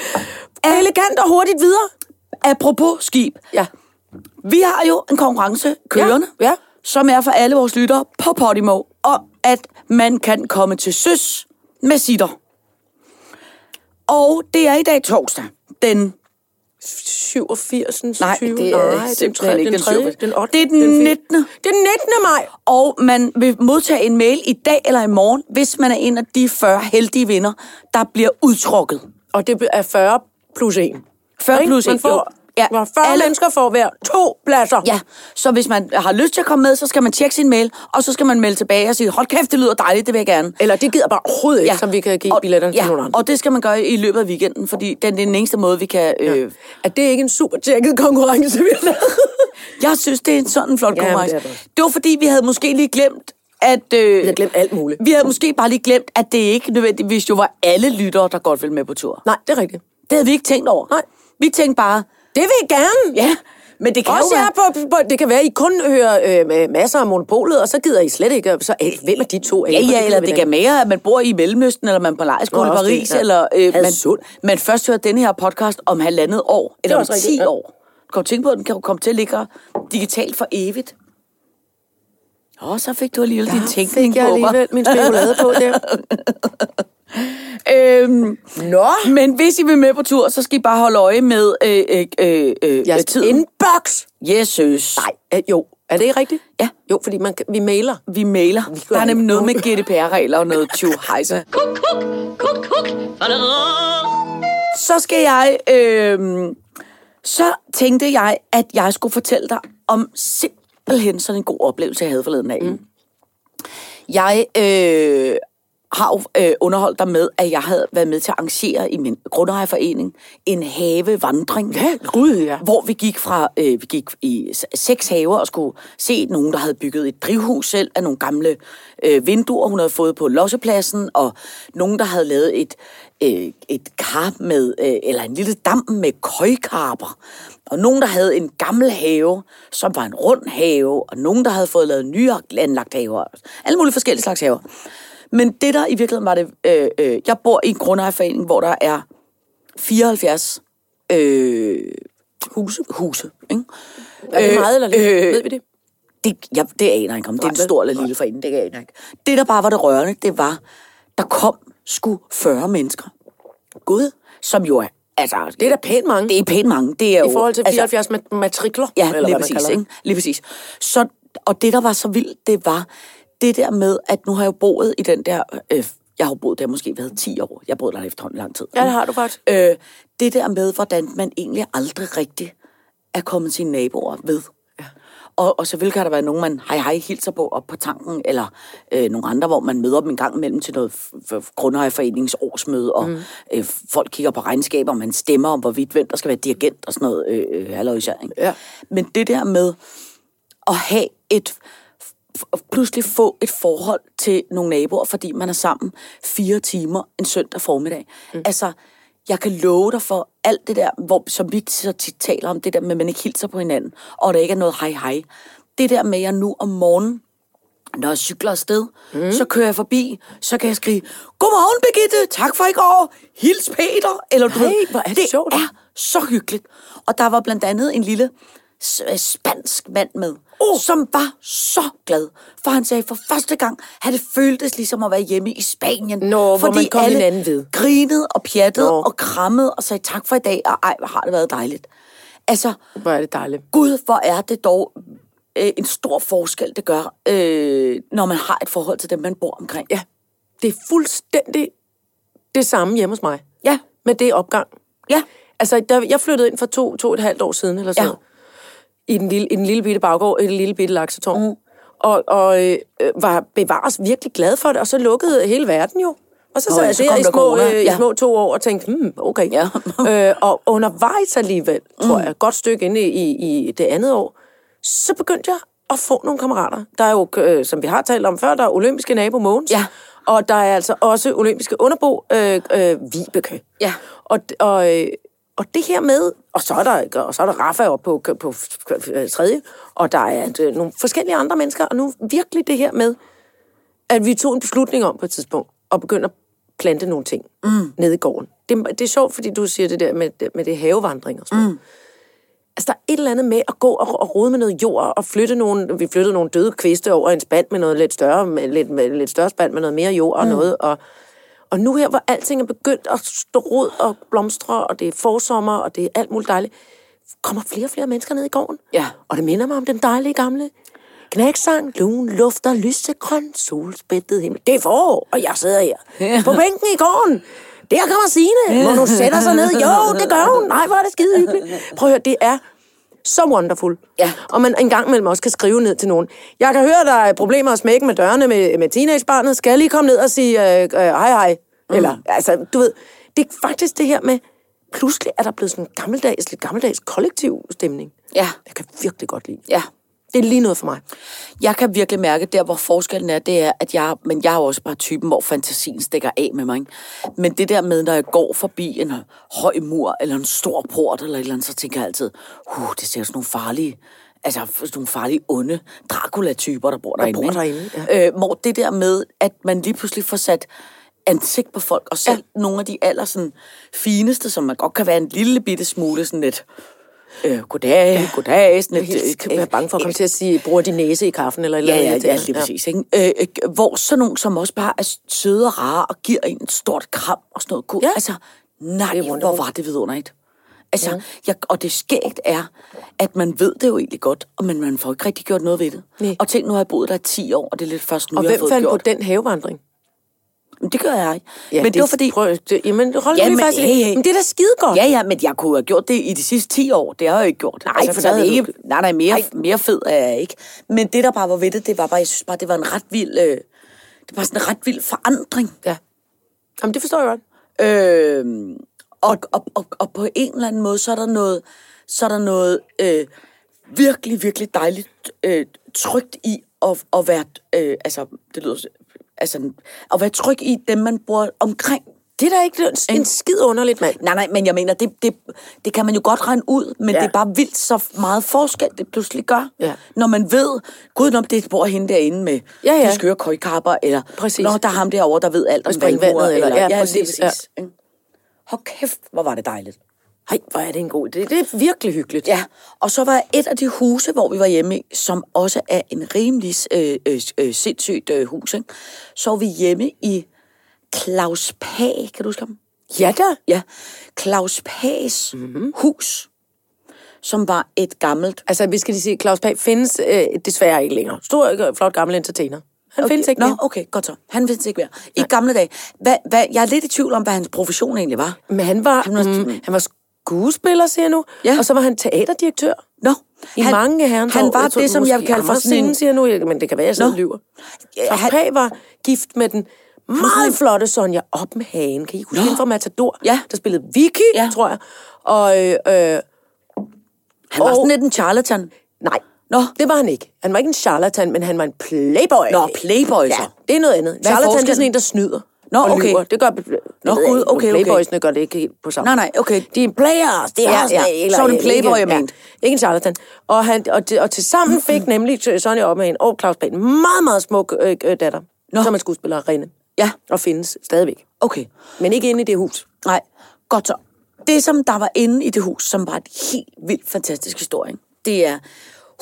Speaker 5: Elegant og hurtigt videre.
Speaker 3: Apropos skib.
Speaker 5: Ja.
Speaker 3: Vi har jo en konkurrence kørende,
Speaker 5: Ja, ja.
Speaker 3: som er for alle vores lyttere på Podimo, om at man kan komme til søs med sitter. Og det er i dag torsdag, den
Speaker 5: 87.
Speaker 3: Nej,
Speaker 5: 20.
Speaker 3: det er simpelthen
Speaker 5: tredje-
Speaker 3: ikke den
Speaker 5: tredje,
Speaker 3: 87..
Speaker 5: Den 8.
Speaker 3: Det er den 19..
Speaker 5: Det er den 19. maj.
Speaker 3: Og man vil modtage en mail i dag eller i morgen, hvis man er en af de 40 heldige vinder, der bliver udtrukket.
Speaker 5: Og det er 40 plus 1.
Speaker 3: 40 plus
Speaker 5: Man
Speaker 3: en,
Speaker 5: får,
Speaker 3: jo.
Speaker 5: ja,
Speaker 3: Ja,
Speaker 5: hvor 40 alle...
Speaker 3: alle-
Speaker 5: mennesker får hver to pladser.
Speaker 3: Ja, så hvis man har lyst til at komme med, så skal man tjekke sin mail, og så skal man melde tilbage og sige, hold kæft, det lyder dejligt, det vil jeg gerne.
Speaker 5: Eller det gider bare overhovedet ikke, ja. som vi kan give
Speaker 3: og,
Speaker 5: billetterne
Speaker 3: ja,
Speaker 5: til nogen andre.
Speaker 3: og det skal man gøre i løbet af weekenden, fordi det er den eneste måde, vi kan... Øh, ja.
Speaker 5: Er det ikke en super tjekket konkurrence, vi har lavet?
Speaker 3: <laughs> Jeg synes, det er en sådan en flot
Speaker 5: Ja, men
Speaker 3: konkurrence.
Speaker 5: det er det
Speaker 3: Det, det var fordi, vi havde måske lige glemt, at... Øh, vi
Speaker 5: havde glemt alt muligt.
Speaker 3: Vi havde måske bare lige glemt, at det ikke nødvendigvis jo var alle lyttere, der godt ville med på tur.
Speaker 5: Nej, det er rigtigt.
Speaker 3: Det havde vi ikke tænkt over.
Speaker 5: Nej.
Speaker 3: Vi tænkte bare,
Speaker 5: Det vil jeg gerne.
Speaker 3: ja, men det kan
Speaker 5: Også
Speaker 3: jo være...
Speaker 5: jer på, på, det kan være, at I kun hører øh, med masser af monopolet, og så gider I slet ikke. og Så, øh, hvem er de to?
Speaker 3: Ja, ja, eller det
Speaker 5: gider vi
Speaker 3: kan mere, at man bor i Mellemøsten, eller man er på lejrskole i
Speaker 5: Nå, også det,
Speaker 3: Paris,
Speaker 5: ja.
Speaker 3: eller øh, man,
Speaker 5: Hadsund.
Speaker 3: man først hører denne her podcast om halvandet år, eller om
Speaker 5: også
Speaker 3: 10
Speaker 5: rigtigt, ja.
Speaker 3: år. Kom tænke på, at den kan jo komme til at ligge digitalt for evigt. Åh, så fik du alligevel din tænkning
Speaker 5: Ah, Fik jeg
Speaker 3: på mig.
Speaker 5: alligevel min spekulade på
Speaker 3: <laughs>
Speaker 5: der.
Speaker 3: Øhm,
Speaker 5: Nå,
Speaker 3: men hvis I vil med på tur, så skal I bare holde øje med øh, øh, øh, øh,
Speaker 5: jeres
Speaker 3: tiden.
Speaker 5: inbox.
Speaker 3: Jesus.
Speaker 5: Nej, øh, jo. Er det ikke rigtigt?
Speaker 3: Ja.
Speaker 5: Jo, fordi man, kan- vi mailer.
Speaker 3: Vi mailer.
Speaker 5: gør
Speaker 3: Der er nemlig
Speaker 5: ikke
Speaker 3: noget med GDPR-regler og noget tjuhejse.
Speaker 2: Kuk, kuk, kuk, kuk, falderå.
Speaker 3: så skal jeg... Øh, så tænkte jeg, at jeg skulle fortælle dig om simpelthen sådan en god oplevelse, jeg havde forleden af. Mm. Jeg øh, har jo øh, underholdt dig med, at jeg havde været med til at arrangere i min grundejerforening en havevandring. Ja,
Speaker 5: gud, ja.
Speaker 3: Hvor vi gik fra, øh, vi gik i s- seks haver og skulle se nogen, der havde bygget et drivhus selv af nogle gamle øh, vinduer, hun havde fået på lossepladsen, og nogen, der havde lavet et, øh, et kar med, øh, eller en lille dam med køjkarper, og nogen, der havde en gammel have, som var en rund have, og nogen, der havde fået lavet nye anlagt haver, alle mulige forskellige slags haver. Men det der i virkeligheden var det, øh, øh, jeg bor i en grundejerforening, hvor der er 74 øh, huse. huse ikke?
Speaker 5: Er det
Speaker 3: Øh,
Speaker 5: meget eller lidt?
Speaker 3: øh,
Speaker 5: Ved vi det?
Speaker 3: Det, ja, det aner jeg ikke, om det er en
Speaker 5: Nej, vel?
Speaker 3: stor eller lille forening, det aner jeg ikke. Det, der bare var det rørende, det var, der kom sgu 40 mennesker. Gud, som jo er... Altså,
Speaker 5: Det er da pænt mange.
Speaker 3: det er pænt mange. Det er
Speaker 5: I
Speaker 3: jo,
Speaker 5: forhold til 74 altså, matrikler,
Speaker 3: Ja,
Speaker 5: eller
Speaker 3: lige
Speaker 5: hvad man
Speaker 3: præcis,
Speaker 5: kalder det.
Speaker 3: ikke? lige præcis. Så, og det, der var så vildt, det var det der med, at nu har jeg jo boet i den der... Øh, jeg har jo boet der måske været 10 år. Jeg har boet der efterhånden lang tid.
Speaker 5: Ja, det har du faktisk.
Speaker 3: Øh, det der med, hvordan man egentlig aldrig rigtig er kommet sine naboer ved. Ja. Og, og selvfølgelig kan der være nogen, man hej hej hilser på op på tanken, eller øh, nogle andre, hvor man møder dem en gang imellem til noget f- f- grundejerforeningens årsmøde, og mm. øh, folk kigger på regnskaber, og man stemmer om, hvorvidt hvem der skal være dirigent og sådan noget. Øh, øh, halløjsa, ikke?
Speaker 5: Ja.
Speaker 3: Men det der med at have et f- f- pludselig få et forhold til nogle naboer, fordi man er sammen fire timer en søndag formiddag. Mm. Altså, jeg kan love dig for alt det der, hvor, som vi så tit taler om, det der med, at man ikke hilser på hinanden, og der ikke er noget hej hej. Det der med, at jeg nu om morgenen, når jeg cykler afsted, mm. så kører jeg forbi, så kan jeg skrive, Godmorgen Birgitte, tak for i går, hils Peter, eller du
Speaker 5: Nej,
Speaker 3: ved,
Speaker 5: hvor er det
Speaker 3: det
Speaker 5: sjovt.
Speaker 3: er så hyggeligt. Og der var blandt andet en lille s- øh, spansk mand med,
Speaker 5: Oh!
Speaker 3: uh. som var så glad, for han sagde, for første gang, han det føltes ligesom at være hjemme i Spanien.
Speaker 5: Nå, hvor man kom
Speaker 3: alle
Speaker 5: hinanden ved.
Speaker 3: grinede og pjattede
Speaker 5: Nå.
Speaker 3: Nå. og krammede og sagde tak for i dag, og ej, hvor har det været dejligt. Altså,
Speaker 5: Hvor er det dejligt.
Speaker 3: Gud, hvor er det dog øh, en stor forskel, det gør, øh, når man har et forhold til dem, man bor omkring.
Speaker 5: Ja, det er fuldstændig det samme hjemme hos mig.
Speaker 3: Ja.
Speaker 5: Men det er opgang.
Speaker 3: Ja.
Speaker 5: Altså, der, jeg flyttede ind for to, to og et halvt år siden, eller sådan
Speaker 3: Ja.
Speaker 5: ja. i, den lille, i den lille bitte baggård, i den lille bitte laksetårn.
Speaker 3: Mhm.
Speaker 5: Mm. Og, og øh, øh, var bevares virkelig glad for det, og så lukkede hele verden jo. Og så
Speaker 3: Nå,
Speaker 5: sad
Speaker 3: ja,
Speaker 5: jeg
Speaker 3: så
Speaker 5: der
Speaker 3: kom
Speaker 5: i
Speaker 3: der
Speaker 5: små,
Speaker 3: corona.
Speaker 5: øh, i
Speaker 3: Ja.
Speaker 5: små to år og tænkte, hmm, okay.
Speaker 3: Ja. Mm.
Speaker 5: øh, og undervejs alligevel, tror jeg, et godt stykke inde i, i det andet år, så begyndte jeg at få nogle kammerater. Der er jo, øh, som vi har talt om før, der er olympiske nabo Mogens.
Speaker 3: Ja.
Speaker 5: Og der er altså også olympiske underbo øh, øh, Vibeke.
Speaker 3: Ja.
Speaker 5: Og, og, øh, og det her med, og så er der, og så er der Rafa oppe på, på, på øh, tredje, og der er øh, nogle forskellige andre mennesker, og nu virkelig det her med, at vi tog en beslutning om på et tidspunkt, og begyndte at plante nogle ting mm. nede i gården. Det, det er sjovt, fordi du siger det der med, med det havevandring og sådan mm. Altså, der er et eller andet med at gå og, og rode med noget jord, og flytte nogle, vi flyttede nogle døde kviste over en spand med noget lidt større, med, lidt, med, lidt større spand med noget mere jord og noget, og, Og nu her, hvor alting er begyndt at stå rod og blomstre, og det er forsommer, og det er alt muligt dejligt, kommer flere og flere mennesker ned i gården.
Speaker 3: Ja.
Speaker 5: Og det minder mig om den dejlige gamle knæksang. Lun lufter lysegrøn, solspættet himmel. Det er forår, og jeg sidder her på bænken i gården. Der kommer Signe, hvor nu sætter sig ned. Jo, det gør hun. Nej, hvor er det skide hyggeligt. Prøv at høre, det er så wonderful.
Speaker 3: Ja.
Speaker 5: Og man en gang imellem også kan skrive ned til nogen. Jeg kan høre, der er problemer og smække med dørene med, med teenagebarnet. Skal jeg lige komme ned og sige øh, øh, hej hej? Eller, altså, du ved, det er faktisk det her med, pludselig er der blevet sådan en gammeldags, lidt gammeldags kollektiv stemning.
Speaker 3: Ja.
Speaker 5: Jeg kan virkelig godt lide.
Speaker 3: Ja.
Speaker 5: Det er lige noget for mig.
Speaker 3: Jeg kan virkelig mærke, der hvor forskellen er, det er, at jeg, men jeg er jo også bare typen, hvor fantasien stikker af med mig. Ikke? Men det der med, når jeg går forbi en høj mur, eller en stor port, eller et eller andet, så tænker jeg altid, huh, det ser jo sådan nogle farlige, altså sådan nogle farlige, onde Dracula-typer, der bor derinde.
Speaker 5: bor
Speaker 3: ikke?
Speaker 5: derinde, ja.
Speaker 3: øh, hvor det der med, at man lige pludselig får sat ansigt på folk, og selv ja. nogle af de aller sådan, fineste, som man godt kan være en lille bitte smule sådan lidt, øh, goddag, ja. goddag, sådan lidt,
Speaker 5: Jeg
Speaker 3: øh,
Speaker 5: kan være bange for at komme til at sige, bruger de næse i kaffen eller et eller
Speaker 3: Ja, ja,
Speaker 5: andet.
Speaker 3: ja, lige præcis. Ikke? Øh, øh, hvor sådan nogen, som også bare er søde og rare og giver en et stort kram og sådan noget. Kunne, ja.
Speaker 5: Ja.
Speaker 3: Altså, nej, hvor var det vidunderligt. Altså, ja. jeg, og det skægt er, at man ved det jo egentlig godt, og men man får ikke rigtig gjort noget ved det.
Speaker 5: Nej.
Speaker 3: Og tænk, nu har jeg boet der i 10 år, og det er lidt først nu,
Speaker 5: Og
Speaker 3: jeg har
Speaker 5: hvem
Speaker 3: fået
Speaker 5: fandt
Speaker 3: gjort.
Speaker 5: på den havevandring?
Speaker 3: Men det gør jeg ikke. men det, var fordi...
Speaker 5: Prøv, det, jamen, hold
Speaker 3: Ja,
Speaker 5: ja, men,
Speaker 3: men
Speaker 5: fast, i det.
Speaker 3: hey, hey.
Speaker 5: men det er da skide godt.
Speaker 3: Ja, ja, men jeg kunne have gjort det i de sidste 10 år. Det har jeg jo ikke gjort. Nej, der
Speaker 5: for der
Speaker 3: er det
Speaker 5: havde
Speaker 3: ikke...
Speaker 5: du-
Speaker 3: Nej, nej, mere, mere fed er jeg ikke. Men det, der bare var ved det, det var bare, jeg synes bare, det var en ret vild... Øh, det var sådan en ret vild forandring.
Speaker 5: ja. Jamen, det forstår jeg godt.
Speaker 3: Øh, og, og, og, og på en eller anden måde, så er der noget, så er der noget øh, virkelig, virkelig dejligt øh, trygt i at, at være, øh, altså, det lyder, altså, at være tryg i dem, man bor omkring.
Speaker 5: Det er da ikke en, en skid underligt, mand.
Speaker 3: Nej, nej, men jeg mener, det, det, det kan man jo godt regne ud, men ja.
Speaker 5: Ja.
Speaker 3: det er bare vildt så meget forskel, det pludselig gør.
Speaker 5: Ja.
Speaker 3: Når man ved, gud, om det bor hende derinde med
Speaker 5: Ja, ja.
Speaker 3: de skøre køjkapper, eller
Speaker 5: Præcis.
Speaker 3: Nå, der er ham derovre, der ved alt om
Speaker 5: springvandet,
Speaker 3: vandmure,
Speaker 5: eller- ja,
Speaker 3: ja, lige
Speaker 5: præcis,
Speaker 3: præcis. Ja. Hold kæft, hvor var det dejligt.
Speaker 5: Hej, hvor er det en god... Det, det er virkelig hyggeligt.
Speaker 3: Ja, og så var et af de huse, hvor vi var hjemme, i, som også er en rimelig øh, øh, øh, sindssygt øh, hus, ikke? så var vi hjemme i Claus Pag, kan du huske ham?
Speaker 5: ja da.
Speaker 3: Ja, Claus Pags
Speaker 5: Mhm.
Speaker 3: mm-hmm. hus, som var et gammelt...
Speaker 5: Altså, vi skal lige sige, Claus Pag findes øh, desværre ikke længere. Stor, øh, flot, gammel entertainer. Han okay. findes ikke
Speaker 3: Nå,
Speaker 5: mere.
Speaker 3: Ah, okay, godt så. Han findes ikke mere. I gamle dage. Hvad, hvad, jeg er lidt i tvivl om, hvad hans profession egentlig var.
Speaker 5: Men han var, han var, mm, han var skuespiller, siger jeg nu.
Speaker 3: Ja.
Speaker 5: Og så var han teaterdirektør.
Speaker 3: Nå,
Speaker 5: I han, mange herrens
Speaker 3: Han
Speaker 5: år.
Speaker 3: var
Speaker 5: Jeg tror,
Speaker 3: det, som
Speaker 5: måske
Speaker 3: jeg vil kalde for
Speaker 5: Anders
Speaker 3: sådan en...
Speaker 5: Sinde, siger jeg nu, jeg- men det kan være, jeg sidder
Speaker 3: Nå.
Speaker 5: og lyver.
Speaker 3: Ja,
Speaker 5: Claus
Speaker 3: han-
Speaker 5: Pag var gift med den meget flotte Sonja op med hagen. Kan I huske
Speaker 3: Nå.
Speaker 5: hende fra Matador?
Speaker 3: Ja.
Speaker 5: Der spillede Vicky,
Speaker 3: Ja.
Speaker 5: ja. tror jeg. Og, øh, øh,
Speaker 3: Han var
Speaker 5: og-
Speaker 3: sådan lidt en charlatan.
Speaker 5: nej,
Speaker 3: Nå.
Speaker 5: det var han ikke. Han var ikke en charlatan, men han var en playboy.
Speaker 3: Nå, playboy så.
Speaker 5: Ja, det er noget andet.
Speaker 3: er
Speaker 5: charlatan, det er
Speaker 3: forskellen?
Speaker 5: sådan en, der snyder.
Speaker 3: Nå,
Speaker 5: og
Speaker 3: okay.
Speaker 5: lyver. Det gør... Nå,
Speaker 3: gud, okay, okay.
Speaker 5: Playboysene gør det ikke helt på samme
Speaker 3: Nej, nej, okay.
Speaker 5: De er players, de har sådan en-
Speaker 3: Så var det en
Speaker 5: eller-
Speaker 3: playboy, jeg
Speaker 5: ikke-
Speaker 3: mente.
Speaker 5: Ja, ikke en charlatan. Og, han, og, til, og til sammen fik nemlig Sonja Opmann og Claus Pag en meget, meget smuk øh, øh, datter,
Speaker 3: Nå.
Speaker 5: Nå. som er skuespiller Rene.
Speaker 3: Ja.
Speaker 5: Og findes stadigvæk.
Speaker 3: Okay,
Speaker 5: Men ikke inde i det hus.
Speaker 3: nej, godt så. Det, som der var inde i det hus, som var en helt vildt fantastisk historie, ikke? det er,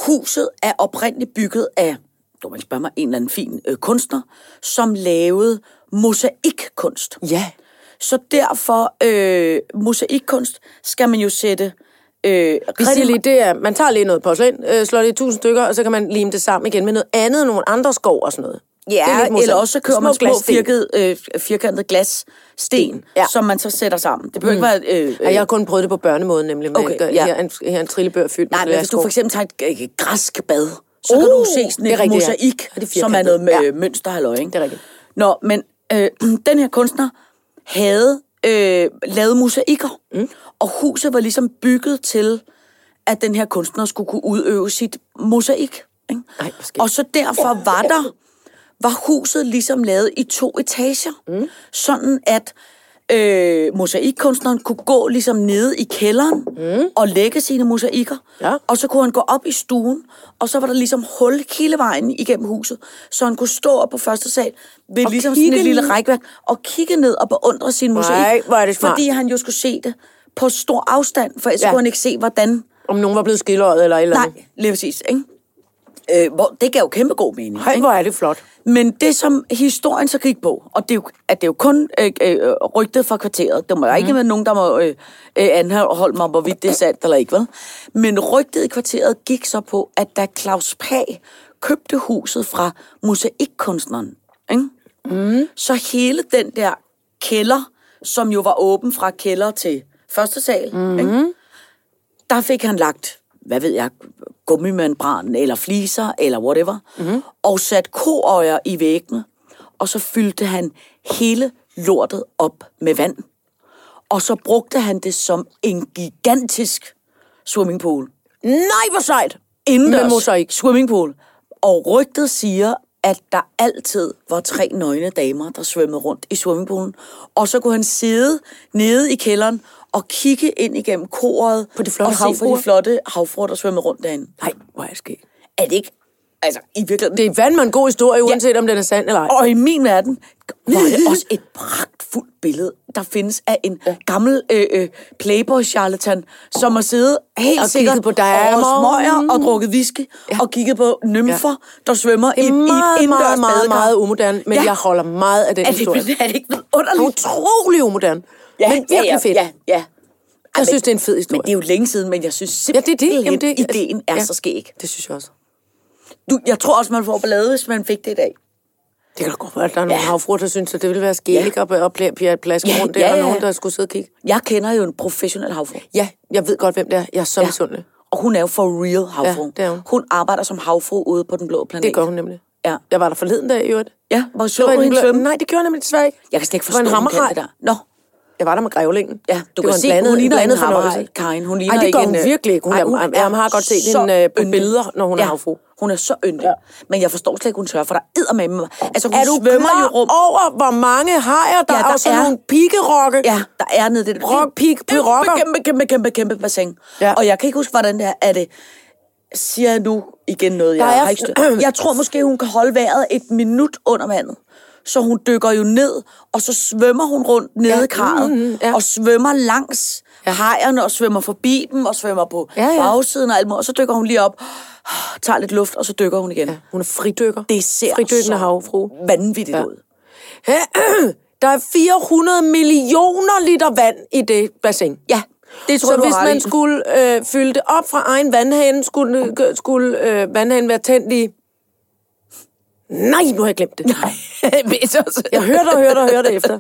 Speaker 3: huset er oprindeligt bygget af, du må ikke spørge mig, en eller anden fin øh, kunstner, som lavede mosaikkunst.
Speaker 5: Ja.
Speaker 3: Så derfor, øh, mosaikkunst skal man jo sætte... Øh,
Speaker 5: Vi
Speaker 3: rigtig-
Speaker 5: siger lige, det er, man tager lige noget porcelæn, øh, slår det i tusind stykker, og så kan man lime det sammen igen med noget andet, nogle andre skov og sådan noget. Det er lidt
Speaker 3: Ja,
Speaker 5: mosaik.
Speaker 3: eller også så kører man små
Speaker 5: glassten.
Speaker 3: firkede, øh, firkantede glassten, ja.
Speaker 5: ja.
Speaker 3: som man så sætter sammen. Det behøver mm. ikke være... Øh,
Speaker 5: Ja, jeg har kun prøvet det på børnemåden, nemlig. Med,
Speaker 3: Okay,
Speaker 5: okay,
Speaker 3: ja.
Speaker 5: ja. her, er en, her er en trillebør fyldt
Speaker 3: Nej,
Speaker 5: med
Speaker 3: men hvis du
Speaker 5: glasskår.
Speaker 3: for eksempel tager et øh, græsk bad, så uh, kan du
Speaker 5: Uh,
Speaker 3: se sådan
Speaker 5: det
Speaker 3: et
Speaker 5: er rigtigt, ja.
Speaker 3: mosaik,
Speaker 5: Og det er
Speaker 3: som er noget
Speaker 5: firkantet,
Speaker 3: med
Speaker 5: ja.
Speaker 3: ja. mønster halløj, ikke?
Speaker 5: Det er rigtigt.
Speaker 3: Nå, men øh, <clears throat> den her kunstner havde øh, lavet mosaikker, mm. og huset var ligesom bygget til, at den her kunstner skulle kunne udøve sit mosaik. Ikke?
Speaker 5: Ej, hvor skægt.
Speaker 3: og så derfor var der var huset ligesom lavet i to etager. Mm. Sådan at øh, mosaikkunstneren kunne gå ligesom nede i kælderen mm. og lægge sine mosaikker.
Speaker 5: Ja.
Speaker 3: Og så kunne han gå op i stuen, og så var der ligesom hul hele vejen igennem huset, så han kunne stå op på første sal ved og ligesom sådan
Speaker 5: kigge
Speaker 3: et lille
Speaker 5: ned.
Speaker 3: rækværk og kigge ned og beundre sin mosaik.
Speaker 5: Nej, hvor er det smart.
Speaker 3: Fordi han jo skulle se det på stor afstand, for ellers ja.
Speaker 5: Ja.
Speaker 3: kunne han ikke se, hvordan...
Speaker 5: Om nogen var blevet skildret eller et eller andet.
Speaker 3: Nej, lige præcis, ikke? Øh, hvor, det gav jo kæmpe god mening.
Speaker 5: Hej,
Speaker 3: ikke?
Speaker 5: hvor er det flot.
Speaker 3: Men det, som historien så gik på, og det er jo, at det er jo kun øh, øh, rygtet fra kvarteret. Der må mm. ikke
Speaker 5: Mhm.
Speaker 3: være nogen, der må øh, øh, anholde mig, om, hvorvidt det er sandt eller ikke, vel? Men rygtet i kvarteret gik så på, at da Claus Pag købte huset fra mosaikkunstneren, ikke?
Speaker 5: Mhm.
Speaker 3: Mm. så hele den der kælder, som jo var åben fra kælder til første sal, mm. ikke?
Speaker 5: Mhm.
Speaker 3: der fik han lagt, hvad ved jeg, gummimembran eller fliser eller whatever,
Speaker 5: Mhm.
Speaker 3: mm-hmm. og sat koøjer i væggene, og så fyldte han hele lortet op med vand. Og så brugte han det som en gigantisk swimmingpool.
Speaker 5: Nej, hvor sejt!
Speaker 3: Indendørs
Speaker 5: Med mosaik.
Speaker 3: swimmingpool. Og rygtet siger, at der altid var tre nøgne damer, der svømmede rundt i swimmingpoolen. Og så kunne han sidde nede i kælderen og kigge ind igennem koret
Speaker 5: På de flotte
Speaker 3: og se på
Speaker 5: havfruer.
Speaker 3: de flotte havfruer, der svømmer rundt derinde.
Speaker 5: Nej, hvor er det sket.
Speaker 3: Er det ikke? Altså, i virkeligheden...
Speaker 5: Det er fandme en god historie, uanset om den er sand eller ej.
Speaker 3: Og i min verden var det også et pragtfuldt billede, der findes af en ja. gammel øh, øh, playboy-charlatan, som har siddet helt
Speaker 5: Og
Speaker 3: sikkert
Speaker 5: kigget på damer.
Speaker 3: over smøger og drukket whisky, ja. og kigget på nymfer, ja. der svømmer i, i
Speaker 5: Det
Speaker 3: et
Speaker 5: er meget,
Speaker 3: indendørs
Speaker 5: meget, meget,
Speaker 3: badekar.
Speaker 5: meget umodern, men
Speaker 3: Ja.
Speaker 5: ja. jeg holder meget af den
Speaker 3: er
Speaker 5: historie.
Speaker 3: det, er det ikke underligt?
Speaker 5: Utrolig umodern, ja, men virkelig
Speaker 3: ja,
Speaker 5: fedt.
Speaker 3: Ja, ja.
Speaker 5: Jeg synes, det er en fed historie.
Speaker 3: Men det er jo længe siden, men jeg synes
Speaker 5: Ja, det er
Speaker 3: simpelthen,
Speaker 5: det. Jamen, det altså,
Speaker 3: ideen er
Speaker 5: ja.
Speaker 3: ja. så skæg.
Speaker 5: Det synes jeg også.
Speaker 3: Du, jeg tror også, man får ballade, hvis man fik det i dag.
Speaker 5: Det kan da godt være, at der er nogle
Speaker 3: Ja.
Speaker 5: havfruer, der synes, at det ville være skægt at og plære plaske
Speaker 3: Ja,
Speaker 5: rundt der,
Speaker 3: ja,
Speaker 5: og
Speaker 3: ja.
Speaker 5: nogen, der skulle sidde og kigge.
Speaker 3: Jeg kender jo en professionel havfru.
Speaker 5: Ja, jeg ved godt, hvem det er. Jeg er så ja. misundelig.
Speaker 3: Og hun er jo for real havfru.
Speaker 5: Ja, det er hun.
Speaker 3: hun arbejder som havfru ude på den blå planet.
Speaker 5: Det gør hun nemlig.
Speaker 3: Ja.
Speaker 5: Jeg var der forleden dag, i øvrigt.
Speaker 3: Ja, hvor
Speaker 5: Det
Speaker 3: så
Speaker 5: var
Speaker 3: du
Speaker 5: en
Speaker 3: hende
Speaker 5: blø-
Speaker 3: svømme?
Speaker 5: Nej, det gjorde jeg nemlig desværre ikke.
Speaker 3: Jeg kan slet ikke
Speaker 5: Det var
Speaker 3: forstå,
Speaker 5: en
Speaker 3: hun kan det
Speaker 5: hammerhaj.
Speaker 3: der. Nå,
Speaker 5: Jeg var der med grævlingen.
Speaker 3: Ja, du
Speaker 5: Det
Speaker 3: kan
Speaker 5: var en
Speaker 3: se, hun
Speaker 5: blandet-
Speaker 3: ligner
Speaker 5: blandet
Speaker 3: en
Speaker 5: fornøjelse.
Speaker 3: hammerhaj, Karin. Hun ligner
Speaker 5: Ej, det
Speaker 3: ikke
Speaker 5: gør hun
Speaker 3: en, øh,
Speaker 5: virkelig ikke. Hun,
Speaker 3: Ej,
Speaker 5: Ej,
Speaker 3: hun
Speaker 5: hun
Speaker 3: er
Speaker 5: jeg har godt set
Speaker 3: så
Speaker 5: hende øh, på
Speaker 3: yndig.
Speaker 5: billeder, når hun er
Speaker 3: ja,
Speaker 5: havfru.
Speaker 3: hun er så yndig. Ja. Men jeg forstår slet ikke, hun tør, for der er med mig. Altså, hun
Speaker 5: Er du
Speaker 3: svømmer
Speaker 5: klar
Speaker 3: jo rum.
Speaker 5: over, hvor mange hajer,
Speaker 3: Ja,
Speaker 5: der, ja,
Speaker 3: der
Speaker 5: der er sådan
Speaker 3: er.
Speaker 5: nogle pikerokke?
Speaker 3: Ja, der er nede i det.
Speaker 5: Rock, pik, pirokker.
Speaker 3: Kæmpe, kæmpe, kæmpe, kæmpe bassin. Ja.
Speaker 5: Ja.
Speaker 3: Og jeg kan ikke huske, hvordan det er. er det, siger jeg nu igen noget, jeg
Speaker 5: Der er-
Speaker 3: har ikke styr. Jeg tror måske, hun kan holde vejret et minut under vandet. Så hun dykker jo ned, og så svømmer hun rundt nede
Speaker 5: Ja,
Speaker 3: i karret,
Speaker 5: mm, mm, ja.
Speaker 3: og svømmer langs ja. hejerne, og svømmer forbi dem, og svømmer på
Speaker 5: Ja, ja.
Speaker 3: bagsiden og alt muligt. Og så dykker hun lige op, tager lidt luft, og så dykker hun igen. Ja.
Speaker 5: Hun er fridykker.
Speaker 3: Det ser
Speaker 5: Fridykkende
Speaker 3: så
Speaker 5: havfru.
Speaker 3: vanvittigt ja.
Speaker 5: Ja.
Speaker 3: ud.
Speaker 5: Der er 400 millioner liter vand i det bassin.
Speaker 3: Ja, det tror
Speaker 5: Så
Speaker 3: jeg, du
Speaker 5: hvis
Speaker 3: har ret
Speaker 5: man
Speaker 3: i.
Speaker 5: skulle øh, fylde det op fra egen vandhane, skulle, øh, skulle øh, vandhanen være tændt i... Nej, nu har jeg glemt det. <laughs> Jeg hørte og hørte og hørte efter.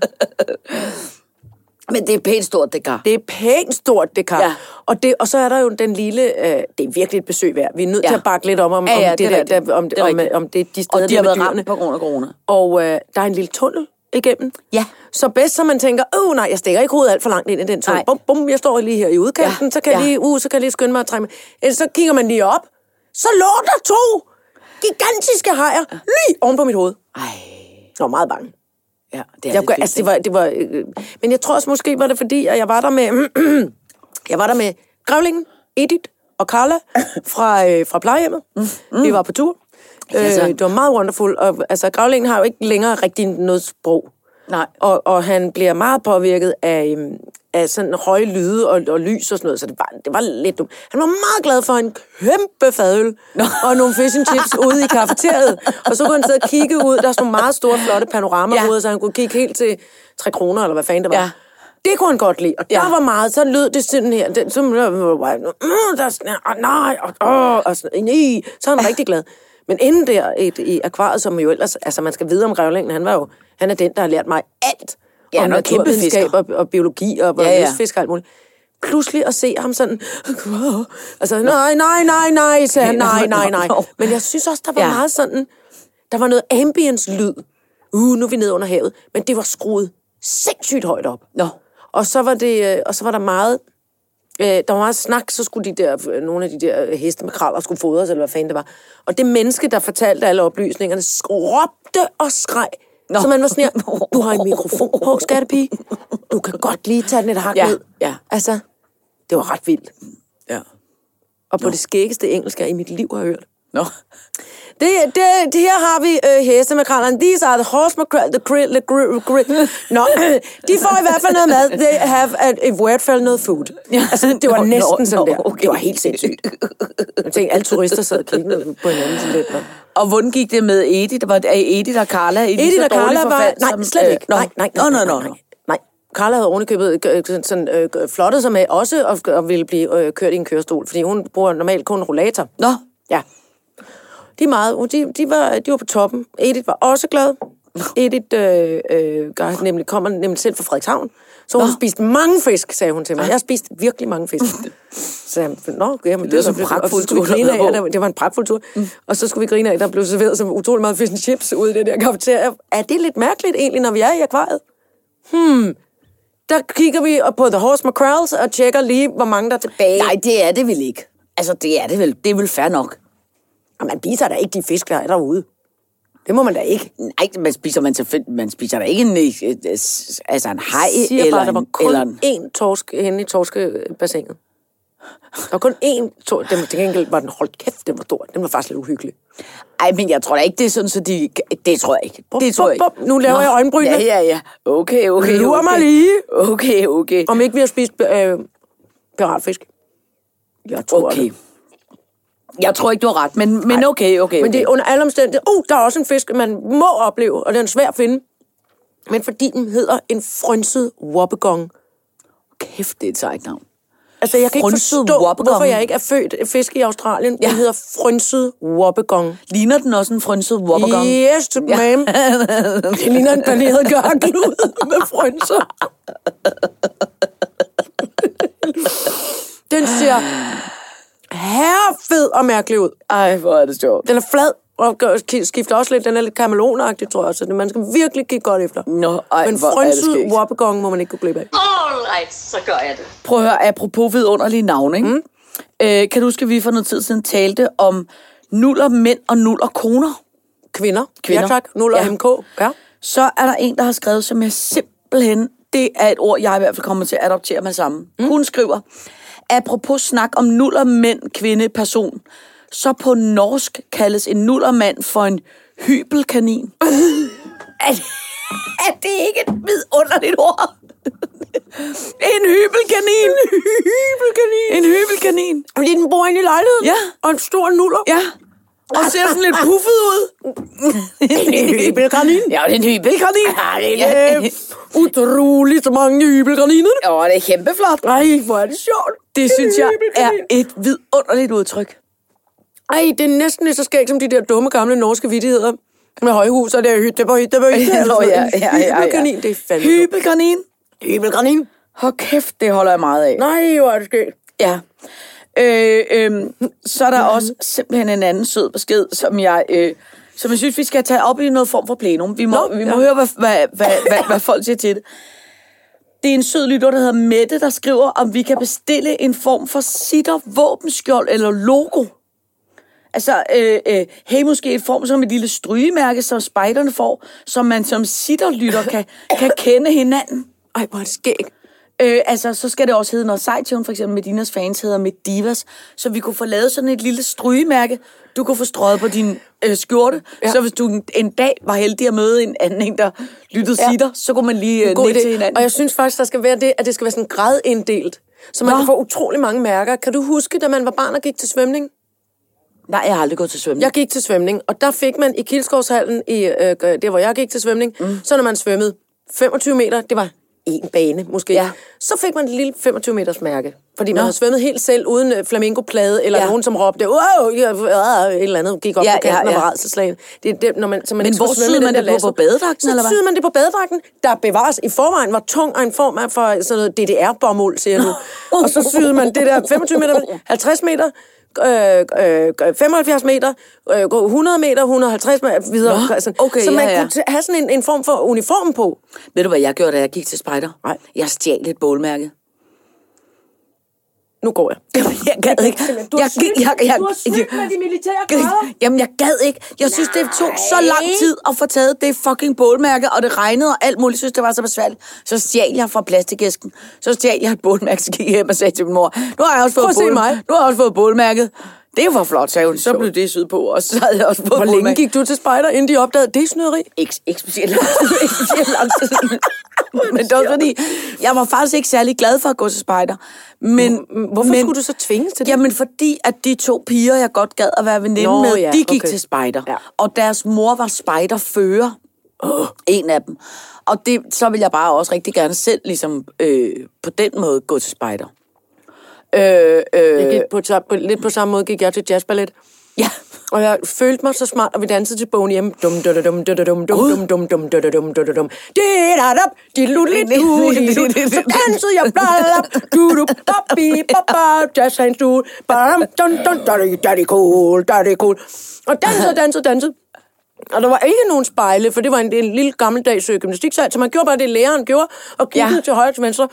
Speaker 3: Men det er pænt stort, det gør.
Speaker 5: Det er pænt stort, det kar.
Speaker 3: Ja.
Speaker 5: Ja. Og, det, og så er der jo den lille... Øh, det er virkelig et besøg værd. Vi er nødt
Speaker 3: Ja.
Speaker 5: ja. til at bakke lidt om, om,
Speaker 3: Ja, ja,
Speaker 5: om det,
Speaker 3: det er
Speaker 5: det, der,
Speaker 3: rigtigt.
Speaker 5: der, om,
Speaker 3: Det er
Speaker 5: det om,
Speaker 3: rigtigt.
Speaker 5: om det er de steder,
Speaker 3: Og de har
Speaker 5: der
Speaker 3: været
Speaker 5: med
Speaker 3: ramt
Speaker 5: dyrene.
Speaker 3: på grund af corona.
Speaker 5: Og øh, der er en lille tunnel igennem.
Speaker 3: Ja.
Speaker 5: Så bedst, så man tænker, åh nej, jeg stikker ikke hovedet alt for langt ind i den tunnel.
Speaker 3: Nej.
Speaker 5: Bum, bum, jeg står lige her i udkanten,
Speaker 3: Ja,
Speaker 5: ja. så, kan jeg
Speaker 3: ja.
Speaker 5: lige, uh, så kan jeg lige skynde mig at trække mig. Ellers så kigger man lige op, så lå der to gigantiske hajer lige oven på mit hoved.
Speaker 3: Ej.
Speaker 5: Jeg var meget bange.
Speaker 3: Ja, det er
Speaker 5: Jeg,
Speaker 3: jeg,
Speaker 5: gør,
Speaker 3: altså,
Speaker 5: altså, det var, det var, øh, men jeg tror også, måske var det fordi, at jeg var der med, <clears throat> jeg var der med Grævlingen, Edith og Carla fra, øh, fra plejehjemmet. Mm. Vi var på tur.
Speaker 3: Mm-hmm. Ja, så.
Speaker 5: Øh, det var meget wonderful. Og, altså, Grævlingen har jo ikke længere rigtig noget sprog.
Speaker 3: Nej.
Speaker 5: Og, og han bliver meget påvirket af, øhm, af sådan høje lyde og, og lys og sådan noget, så det var, det var lidt dumt. Han var meget glad for en kæmpe fadøl og nogle fish and chips ude i kafeteriet. Og så kunne han sidde og kigge ud. Der er sådan nogle meget store, flotte panoramaruder,
Speaker 3: Ja.
Speaker 5: så han kunne kigge helt til 3 kroner, eller hvad fanden det var.
Speaker 3: Ja.
Speaker 5: Ja. Det kunne han godt lide, og der
Speaker 3: Ja.
Speaker 5: ja. var meget, så lød det sådan her, det, så, mm, der er sådan, her, "Åh, nej, og, og, og sådan, nej, så er han rigtig glad. Men inden der et, i akvariet, som jo ellers, altså man skal vide om grævlingen, han var jo, han er den, der har lært mig alt
Speaker 3: Ja,
Speaker 5: ja,
Speaker 3: han
Speaker 5: om
Speaker 3: var en kæmpe
Speaker 5: naturvidenskab og, og biologi og, og
Speaker 3: Ja,
Speaker 5: ja,
Speaker 3: ja.
Speaker 5: ja. og alt muligt. Pludselig at se ham sådan, <laughs> altså nej, nej, nej, nej, sagde han,
Speaker 3: <laughs>
Speaker 5: nej, nej, nej. Men jeg synes også, der var
Speaker 3: Ja.
Speaker 5: ja. meget sådan, der var noget ambience-lyd. Uh, nu er vi nede under havet. Men det var skruet sindssygt højt op.
Speaker 3: Nå.
Speaker 5: Og så var, det, øh, og så var der meget... Øh, der var meget snak, så skulle de der, øh, nogle af de der øh, heste med kraller skulle fodres, eller hvad fanden det var. Og det menneske, der fortalte alle oplysningerne, sk- råbte og skreg.
Speaker 3: Nå.
Speaker 5: Nå. Så man var sådan her, du har en mikrofon
Speaker 3: <laughs>
Speaker 5: på, skattepige. Du kan godt lige tage den et hak
Speaker 3: Ja,
Speaker 5: ned.
Speaker 3: ja.
Speaker 5: Altså, det var ret vildt.
Speaker 3: Ja.
Speaker 5: Og på Nå. det skæggeste engelsk, jeg i mit liv har hørt.
Speaker 3: Nå.
Speaker 5: Det, det, det her har vi øh, heste med krallerne. These are the horse med the grill, the grill, grill. Nå, de får i hvert fald noget mad. They have a, a word for noget food. Ja. Altså, det var
Speaker 3: Nå,
Speaker 5: næsten
Speaker 3: nå,
Speaker 5: sådan
Speaker 3: nå,
Speaker 5: der. Okay. Det var helt sindssygt. Jeg tænkte, alle turister sad og kiggede på hinanden sådan lidt. hva?
Speaker 3: Og hvordan gik det med Edith? Var det Edith og Carla i lige
Speaker 5: Edith
Speaker 3: så
Speaker 5: og
Speaker 3: dårlig
Speaker 5: Carla var...
Speaker 3: forfald
Speaker 5: Nej,
Speaker 3: som,
Speaker 5: slet
Speaker 3: øh,
Speaker 5: ikke.
Speaker 3: nå.
Speaker 5: Nej, nej,
Speaker 3: Nå,
Speaker 5: nej,
Speaker 3: nå,
Speaker 5: nej,
Speaker 3: nå,
Speaker 5: nej,
Speaker 3: nå.
Speaker 5: nej. Carla havde ovenikøbet øh, sådan, sådan, øh, flottet sig med også og, og ville blive øh, kørt i en kørestol, fordi hun bruger normalt kun en rollator.
Speaker 3: Nå,
Speaker 5: Ja. De, er meget, de, de, var, de var på toppen. Edith var også glad. Edith øh, øh, gør, nemlig, kommer nemlig selv fra Frederikshavn. Så hun spiste mange fisk, sagde hun til mig. Jeg har spist virkelig mange
Speaker 3: <laughs>
Speaker 5: fisk. Så jeg, nå, ja, men det,
Speaker 3: lyder
Speaker 5: var
Speaker 3: som en
Speaker 5: lidt-
Speaker 3: pragtfuld
Speaker 5: og så skulle vi
Speaker 3: tur
Speaker 5: grine
Speaker 3: dernede,
Speaker 5: af, der, det var en pragtfuld tur. Mm. Og så skulle vi grine af, at der blev serveret så utrolig meget fish and chips ude i det der kafeteria. Er det lidt mærkeligt egentlig, når vi er i akvariet? Hmm. Der kigger vi på The Horse Mackerels og tjekker lige, hvor mange der er tilbage.
Speaker 3: nej, det er det vel ikke. Altså, det er det vel. Det er vel fair nok.
Speaker 5: Og man spiser da ikke de fisk, der er derude. Det må man da ikke.
Speaker 3: Nej, man spiser, man, selvfølgelig- man spiser da ikke en, øh, øh, s- altså en hej
Speaker 5: siger
Speaker 3: eller,
Speaker 5: bare, der var
Speaker 3: en,
Speaker 5: kun
Speaker 3: eller en...
Speaker 5: én torsk henne i torskebassinet. Der var kun én torsk. Den, til gengæld var den, hold kæft, den var stor. Den var faktisk lidt uhyggelig.
Speaker 3: Ej, men jeg tror da ikke, det er sådan, så de... Det tror jeg ikke.
Speaker 5: Bum,
Speaker 3: Det tror jeg
Speaker 5: bum,
Speaker 3: ikke.
Speaker 5: bum. Nu laver jeg øjenbrynene.
Speaker 3: Ja, ja, ja. Okay, okay,
Speaker 5: Lurer
Speaker 3: okay.
Speaker 5: mig lige.
Speaker 3: Okay, okay.
Speaker 5: Om ikke vi har spist øh, piratfisk. Jeg tror
Speaker 3: Okay.
Speaker 5: det.
Speaker 3: Jeg tror ikke, du har ret, men, men okay, okay,
Speaker 5: Men det
Speaker 3: okay.
Speaker 5: er under alle omstændigheder. Uh, der er også en fisk, man må opleve, og den er svær at finde. Men fordi den hedder en frynset wobbegong.
Speaker 3: Kæft, det er et sejt navn.
Speaker 5: Altså, jeg kan ikke
Speaker 3: Frynset
Speaker 5: forstå,
Speaker 3: wobbegong.
Speaker 5: hvorfor jeg ikke er født øh, fisk i Australien. Den
Speaker 3: Ja.
Speaker 5: hedder frynset wobbegong.
Speaker 3: Ligner den også en frynset wobbergong? <laughs>
Speaker 5: Yes, ma'am. Det ligner en paneret gørklud med frynser. Den ser herrefed og mærkelig ud.
Speaker 3: Ej, hvor er det sjovt.
Speaker 5: Den er flad og gør- ki- skifter også lidt. Den er lidt kamelonagtig, tror jeg. Så det- man skal virkelig kigge godt efter.
Speaker 3: Nå, ej,
Speaker 5: Men
Speaker 3: hvor er det
Speaker 5: frynset
Speaker 3: skægt.
Speaker 5: wobbegong må man ikke gå glip af.
Speaker 2: All right, så gør jeg det.
Speaker 3: Prøv at høre, apropos vidunderlige navne, ikke? Mm. Øh, kan du huske, at vi for noget tid siden talte om nuller mænd og nuller koner?
Speaker 5: Kvinder.
Speaker 3: Kvinder.
Speaker 5: Ja, tak. 0 og
Speaker 3: Ja.
Speaker 5: MK. Ja.
Speaker 3: Så er der en, der har skrevet, som jeg simpelthen... Det er et ord, jeg i hvert fald kommer til at adoptere mig sammen. Mm. Hun skriver, apropos snak om nuller mænd, kvinde, person, så på norsk kaldes en nullermand for en hybelkanin. <laughs> er, det- er det ikke et vidunderligt ord? en hybelkanin.
Speaker 5: Hybelkanin.
Speaker 3: En hybelkanin.
Speaker 5: Fordi den bor inde i lejligheden.
Speaker 3: Ja.
Speaker 5: Og en stor nuller.
Speaker 3: Ja. Og ser sådan lidt puffet ud. en
Speaker 5: hybelkanin.
Speaker 3: Ja, det er en hybelkanin. Ja, det er
Speaker 5: Øh, utroligt mange hybelkaniner.
Speaker 3: Åh, det er kæmpeflot.
Speaker 5: Ej, hvor er det sjovt.
Speaker 3: Det synes jeg er
Speaker 5: Hybelkanin.
Speaker 3: et vidunderligt udtryk.
Speaker 5: Ej, det er næsten lige så skægt som de der dumme gamle norske vittigheder. Med højhus, og det er hytte på hytte på hytte.
Speaker 3: <laughs> Nå, ja, ja, ja, ja.
Speaker 5: Hybelkanin, det er fandme dumt.
Speaker 3: Hybelkanin.
Speaker 5: Hybelkanin.
Speaker 3: Hold kæft, det holder jeg meget af.
Speaker 5: Nej, hvor er det skægt.
Speaker 3: Ja. Øh, øh, så er der også simpelthen en anden sød besked, som jeg, øh, som jeg synes, vi skal tage op i noget form for plenum. Vi må,
Speaker 5: Nå,
Speaker 3: vi må
Speaker 5: ja.
Speaker 3: høre, hvad, hvad, hvad, hvad, hvad folk siger til det. Det er en sød lytter, der hedder Mette, der skriver, om vi kan bestille en form for sitter, våbenskjold eller logo. Altså, øh, øh, hey, måske et form som et lille strygemærke, som spejderne får, som man som sitterlytter kan, kan kende hinanden.
Speaker 5: Ej, hvor er det skægt.
Speaker 3: Øh, altså, så skal det også hedde noget sejt til, hun for eksempel Medinas fans hedder med divas, så vi kunne få lavet sådan et lille strygemærke, du kunne få strøget på din øh, skjorte, ja. så hvis du en, en dag var heldig at møde en anden en, der lyttede ja.
Speaker 5: Ja.
Speaker 3: sitter, så kunne man lige øh,
Speaker 5: God
Speaker 3: nikke til
Speaker 5: idé.
Speaker 3: hinanden.
Speaker 5: Og jeg synes faktisk, der skal være det, at det skal være sådan gradinddelt. Så man
Speaker 3: Nå.
Speaker 5: Nå. kan få utrolig mange mærker. Kan du huske, da man var barn og gik til svømning?
Speaker 3: Nej, jeg har aldrig gået til svømning.
Speaker 5: Jeg gik til svømning, og der fik man i Kildskovshallen, i, øh, der hvor jeg gik til svømning, mm. så når man svømmede 25 meter, det var en bane måske,
Speaker 3: Ja.
Speaker 5: ja. så fik man et lille 25 meters mærke. Fordi man havde svømmet helt selv, uden øh, flamingoplade, eller
Speaker 3: Ja.
Speaker 5: nogen som råbte, wow, ja, øh, et eller andet, gik op
Speaker 3: Ja,
Speaker 5: ja, på kanten
Speaker 3: ja,
Speaker 5: ja,
Speaker 3: ja.
Speaker 5: ja. og redselslagen. Det er det, når man, så man
Speaker 3: Men
Speaker 5: ikke skulle
Speaker 3: hvor
Speaker 5: svømme
Speaker 3: syede
Speaker 5: i den
Speaker 3: man
Speaker 5: der
Speaker 3: det på?
Speaker 5: lasso.
Speaker 3: På badedragten,
Speaker 5: så
Speaker 3: eller hvad?
Speaker 5: syede man det på badedragten, der bevares i forvejen, var tung og en form af for sådan noget DDR-bomuld, siger jeg nu. og så syede man det der 25 meter, 50 meter, øh, øh, 75 meter, øh, 100 meter, 150 meter videre.
Speaker 3: Nå,
Speaker 5: Altså,
Speaker 3: okay,
Speaker 5: så man
Speaker 3: ja, ja.
Speaker 5: kunne t- have sådan en, en form for uniform på.
Speaker 3: Ved du, hvad jeg gjorde, da jeg gik til spejder?
Speaker 5: Nej.
Speaker 3: Jeg stjal et bålmærke.
Speaker 5: Nu går jeg.
Speaker 3: <laughs> Jamen, jeg gad ikke.
Speaker 5: Du har
Speaker 3: Jeg-
Speaker 5: snydt.
Speaker 3: jeg- jeg-
Speaker 5: Du har snydt med de militære grader.
Speaker 3: Jamen, jeg gad ikke. Jeg synes, det tog så lang tid at få taget det fucking bålmærke, og det regnede og alt muligt. Jeg synes, det var så besværligt. Så stjal jeg fra plastikæsken. Så stjal jeg et bålmærke, så gik jeg hjem og sagde til min mor, nu har jeg også
Speaker 5: Prøv
Speaker 3: fået,
Speaker 5: at se
Speaker 3: bål...
Speaker 5: mig."
Speaker 3: nu har jeg også fået bålmærket. Det var flot, sagde hun. Så blev det syd på, og så havde jeg også fået
Speaker 5: Hvor længe
Speaker 3: bålmærket.
Speaker 5: gik du til spejder, inden de opdagede det er snyderi?
Speaker 3: <laughs> Ikke, ikke specielt lang tid. Ikke specielt lang tid.
Speaker 5: Men
Speaker 3: Men det var fordi, jeg var faktisk ikke særlig glad for at gå til spejder. Men,
Speaker 5: Hvorfor
Speaker 3: men,
Speaker 5: men, skulle du så tvinges til det?
Speaker 3: Jamen fordi, at de to piger, jeg godt gad at være veninde
Speaker 5: Nå,
Speaker 3: Nå, med,
Speaker 5: ja,
Speaker 3: ja, de gik
Speaker 5: okay.
Speaker 3: okay. til spejder.
Speaker 5: Ja.
Speaker 3: Ja. Og deres mor var spejderfører. Oh. En af dem. Og det, så vil jeg bare også rigtig gerne selv ligesom, øh, på den måde gå til spejder. Øh,
Speaker 5: Jeg
Speaker 3: øh,
Speaker 5: gik på, på, lidt på samme måde gik jeg til jazzballet.
Speaker 3: ja.
Speaker 5: Og jeg følte mig så smart, og vi dansede til bogen hjemme. Dum, dum, dum, dum, dum, dum, dum, dum, dum, dum, dum, dum, dum. Di-da-dap,
Speaker 3: <laughs>
Speaker 5: di-lu-li-du, di-lu. Så dansede jeg bladadap, du-du, bop-bi, bop-ba, jazz hands du. Badam, dun, dun, daddy, daddy cool, daddy cool. Og dansede, dansede, dansede. Og der var ikke nogen spejle, for det var en, en lille gammeldags øh, gymnastiksal, så man gjorde bare det, læreren gjorde, og kiggede ja.
Speaker 3: Ja.
Speaker 5: til højre og til venstre.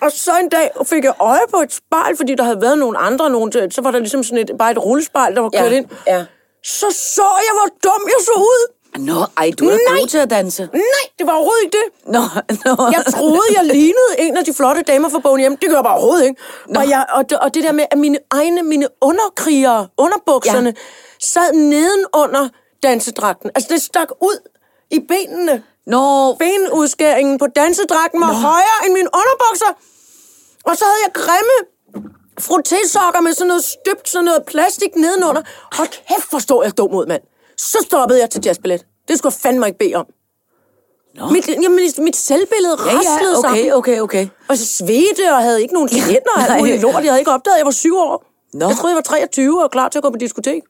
Speaker 5: Og så en dag fik jeg øje på et spejl, fordi der havde været nogle andre, nogen til, så var der ligesom sådan et, bare et rullespejl, der var kørt ind.
Speaker 3: ja.
Speaker 5: Så så jeg, hvor dum jeg så ud.
Speaker 3: Nå, ej, du er
Speaker 5: Nej.
Speaker 3: god til at danse.
Speaker 5: Nej, det var overhovedet ikke det.
Speaker 3: Nå, <laughs> nå.
Speaker 5: Jeg troede, jeg lignede en af de flotte damer fra bogen hjem. Det gør jeg bare overhovedet ikke. Og, jeg, og, det, og det der med, at mine egne mine underkrigere, underbukserne, ja.
Speaker 3: Ja.
Speaker 5: sad nedenunder dansedragten. Altså, det stak ud i benene.
Speaker 3: Nå,
Speaker 5: Benudskæringen på dansedragten var højere end mine underbukser. Og så havde jeg grimme frottésokker med sådan noget støbt, sådan noget plastik nedenunder. Hold kæft, hvor stod jeg dum ud, mand. Så stoppede jeg til jazzballet. Det skulle jeg fandme ikke bede om. Nå. Mit, jamen, mit selvbillede
Speaker 3: ja,
Speaker 5: raslede
Speaker 3: ja, okay,
Speaker 5: sammen.
Speaker 3: okay, okay.
Speaker 5: Og så svedte og havde ikke nogen tænder og alt
Speaker 3: nej.
Speaker 5: muligt lort. Jeg havde ikke opdaget, at jeg var syv år.
Speaker 3: Nå.
Speaker 5: Jeg troede, jeg var 23 og klar til at gå på diskotek.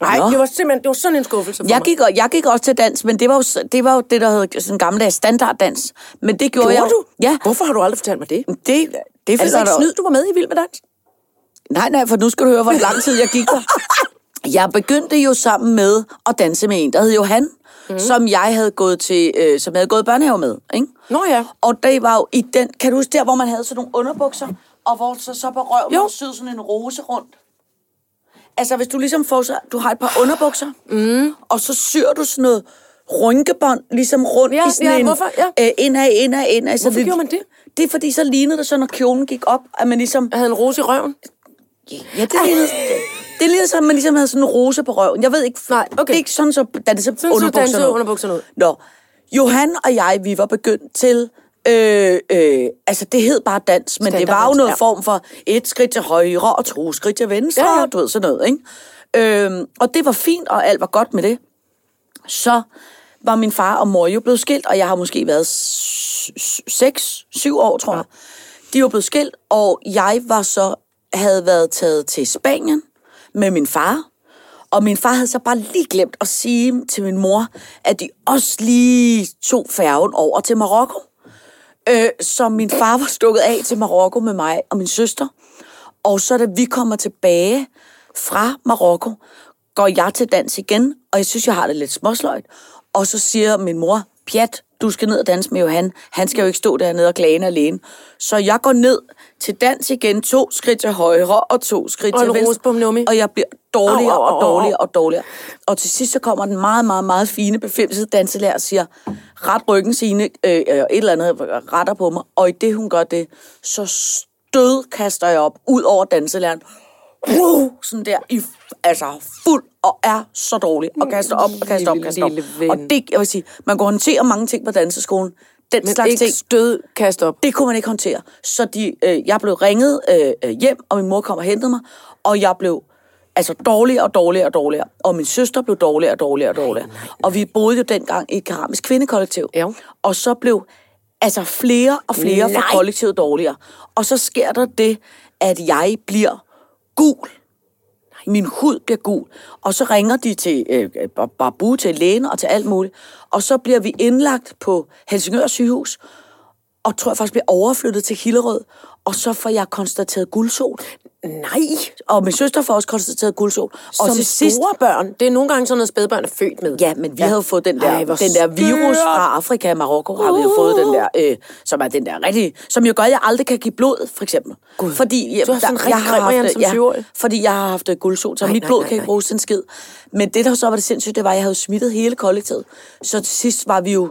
Speaker 5: Nej,
Speaker 3: Nå.
Speaker 5: det var simpelthen det var sådan en skuffelse for
Speaker 3: Jeg
Speaker 5: mig.
Speaker 3: gik, og- jeg gik også til dans, men det var jo, s- det, var jo det, der hed sådan en gammeldags standarddans. Men det gjorde,
Speaker 5: Gjorde
Speaker 3: jeg...
Speaker 5: du?
Speaker 3: Ja.
Speaker 5: Hvorfor har du aldrig fortalt mig det?
Speaker 3: Det, det
Speaker 5: Er det så
Speaker 3: finder
Speaker 5: ikke
Speaker 3: du-
Speaker 5: snyd, du var med i Vild med Dans?
Speaker 3: Nej, nej, for nu skal du høre, hvor lang tid jeg gik <laughs> der. Jeg begyndte jo sammen med at danse med en, der hed Johan, mm. som jeg havde gået til, øh, som jeg havde gået i børnehave med, ikke?
Speaker 5: Nå ja.
Speaker 3: Og det var jo i den, kan du huske der, hvor man havde sådan nogle underbukser, og hvor så, så på røven
Speaker 5: Jo.
Speaker 3: jo. syd sådan en rose rundt? Altså, hvis du ligesom får så, du har et par underbukser, mm. og så syr du sådan noget rynkebånd, ligesom rundt
Speaker 5: Ja,
Speaker 3: i sådan
Speaker 5: ja,
Speaker 3: en...
Speaker 5: hvorfor? Ja.
Speaker 3: Øh, indad, indad, indad. Så
Speaker 5: Hvorfor gjorde man det?
Speaker 3: Det er fordi, så lignede det så, når kjolen gik op, at man ligesom...
Speaker 5: Jeg havde en rose i røven.
Speaker 3: Ja, det lignede, det, det lignede som, at man ligesom havde sådan en rose på røven. Jeg ved ikke,
Speaker 5: Nej, okay.
Speaker 3: det er ikke sådan, så danse
Speaker 5: så dansede underbukserne ud.
Speaker 3: Nå, Johan og jeg, vi var begyndt til... Øh, øh, altså, det hed bare dans, men det var jo
Speaker 5: Standarddans,
Speaker 3: noget
Speaker 5: ja.
Speaker 3: form for et skridt til højre og to skridt til venstre,
Speaker 5: Ja,
Speaker 3: ja,
Speaker 5: ja.
Speaker 3: ja. du ved, sådan noget, ikke? Øhm, og det var fint, og alt var godt med det. Så var min far og mor jo blevet skilt, og jeg har måske været 6-7 år, tror jeg. De var blevet skilt, og jeg var så havde været taget til Spanien med min far. Og min far havde så bare lige glemt at sige til min mor, at de også lige tog færgen over til Marokko. Øh, så min far var stukket af til Marokko med mig og min søster. Og så da vi kommer tilbage fra Marokko, går jeg til dans igen, og jeg synes, jeg har det lidt småsløjt. Og så siger min mor, Pjat, du skal ned og danse med Johan. Han skal jo ikke stå dernede og klage alene. Så jeg går ned til dans igen, to skridt til højre og to skridt
Speaker 5: Og
Speaker 3: til
Speaker 5: en rosebom, Numi.
Speaker 3: venstre. Og jeg bliver dårligere
Speaker 5: Au, au, au, au.
Speaker 3: og dårligere og dårligere. Og til sidst så kommer den meget, meget, meget fine befimsede danselærer og siger, ret ryggen sine, øh, øh, et eller andet retter på mig. Og i det hun gør det, så stød kaster jeg op ud over danselæreren. Wow, sådan der, i, f- altså fuld og er så dårlig. Og kaster op og kaster op og kaster op.
Speaker 5: Lille ven.
Speaker 3: Og det, jeg vil sige, man kunne håndtere mange ting på danseskolen. Den
Speaker 5: Men
Speaker 3: slags
Speaker 5: ikke
Speaker 3: ting.
Speaker 5: stød, kast op.
Speaker 3: Det kunne man ikke håndtere. Så de, øh, jeg blev ringet øh, øh, hjem, og min mor kom og hentede mig, og jeg blev altså dårligere og dårligere og dårligere. Og min søster blev dårligere og dårligere og dårligere. Og vi boede jo dengang i et keramisk kvindekollektiv.
Speaker 5: Ja.
Speaker 3: Og så blev altså flere og flere
Speaker 5: Nej.
Speaker 3: fra kollektivet dårligere. Og så sker der det, at jeg bliver gul. Min hud bliver gul. Og så ringer de til øh, øh, Babu, til lægen og til alt muligt. Og så bliver vi indlagt på Helsingør sygehus, og tror jeg faktisk bliver overflyttet til Hillerød. Og så får jeg konstateret guldsol.
Speaker 5: Nej.
Speaker 3: Og min søster får også konstateret guldsol. Og
Speaker 5: Og Som
Speaker 3: til sidst...
Speaker 5: store børn. Det er nogle gange sådan noget, spædbørn er født med.
Speaker 3: Ja, men vi ja. havde jo fået den der,
Speaker 5: Ej,
Speaker 3: Ej,
Speaker 5: hvor
Speaker 3: den der virus
Speaker 5: skørt. Uh.
Speaker 3: fra Afrika. Marokko har vi jo fået den der, øh, som er den der rigtig... Som jo gør, at jeg aldrig kan give blod, for eksempel. God. Fordi, ja,
Speaker 5: Du har sådan en rigtig grim en som syvårig.
Speaker 3: ja, fordi jeg har haft øh, guldsol, så
Speaker 5: Nej,
Speaker 3: mit
Speaker 5: nej,
Speaker 3: blod
Speaker 5: nej,
Speaker 3: kan
Speaker 5: nej.
Speaker 3: ikke bruges til en skid. Men det, der så var det sindssygt, det var, at jeg havde smittet hele kollektivet. Så til sidst var vi jo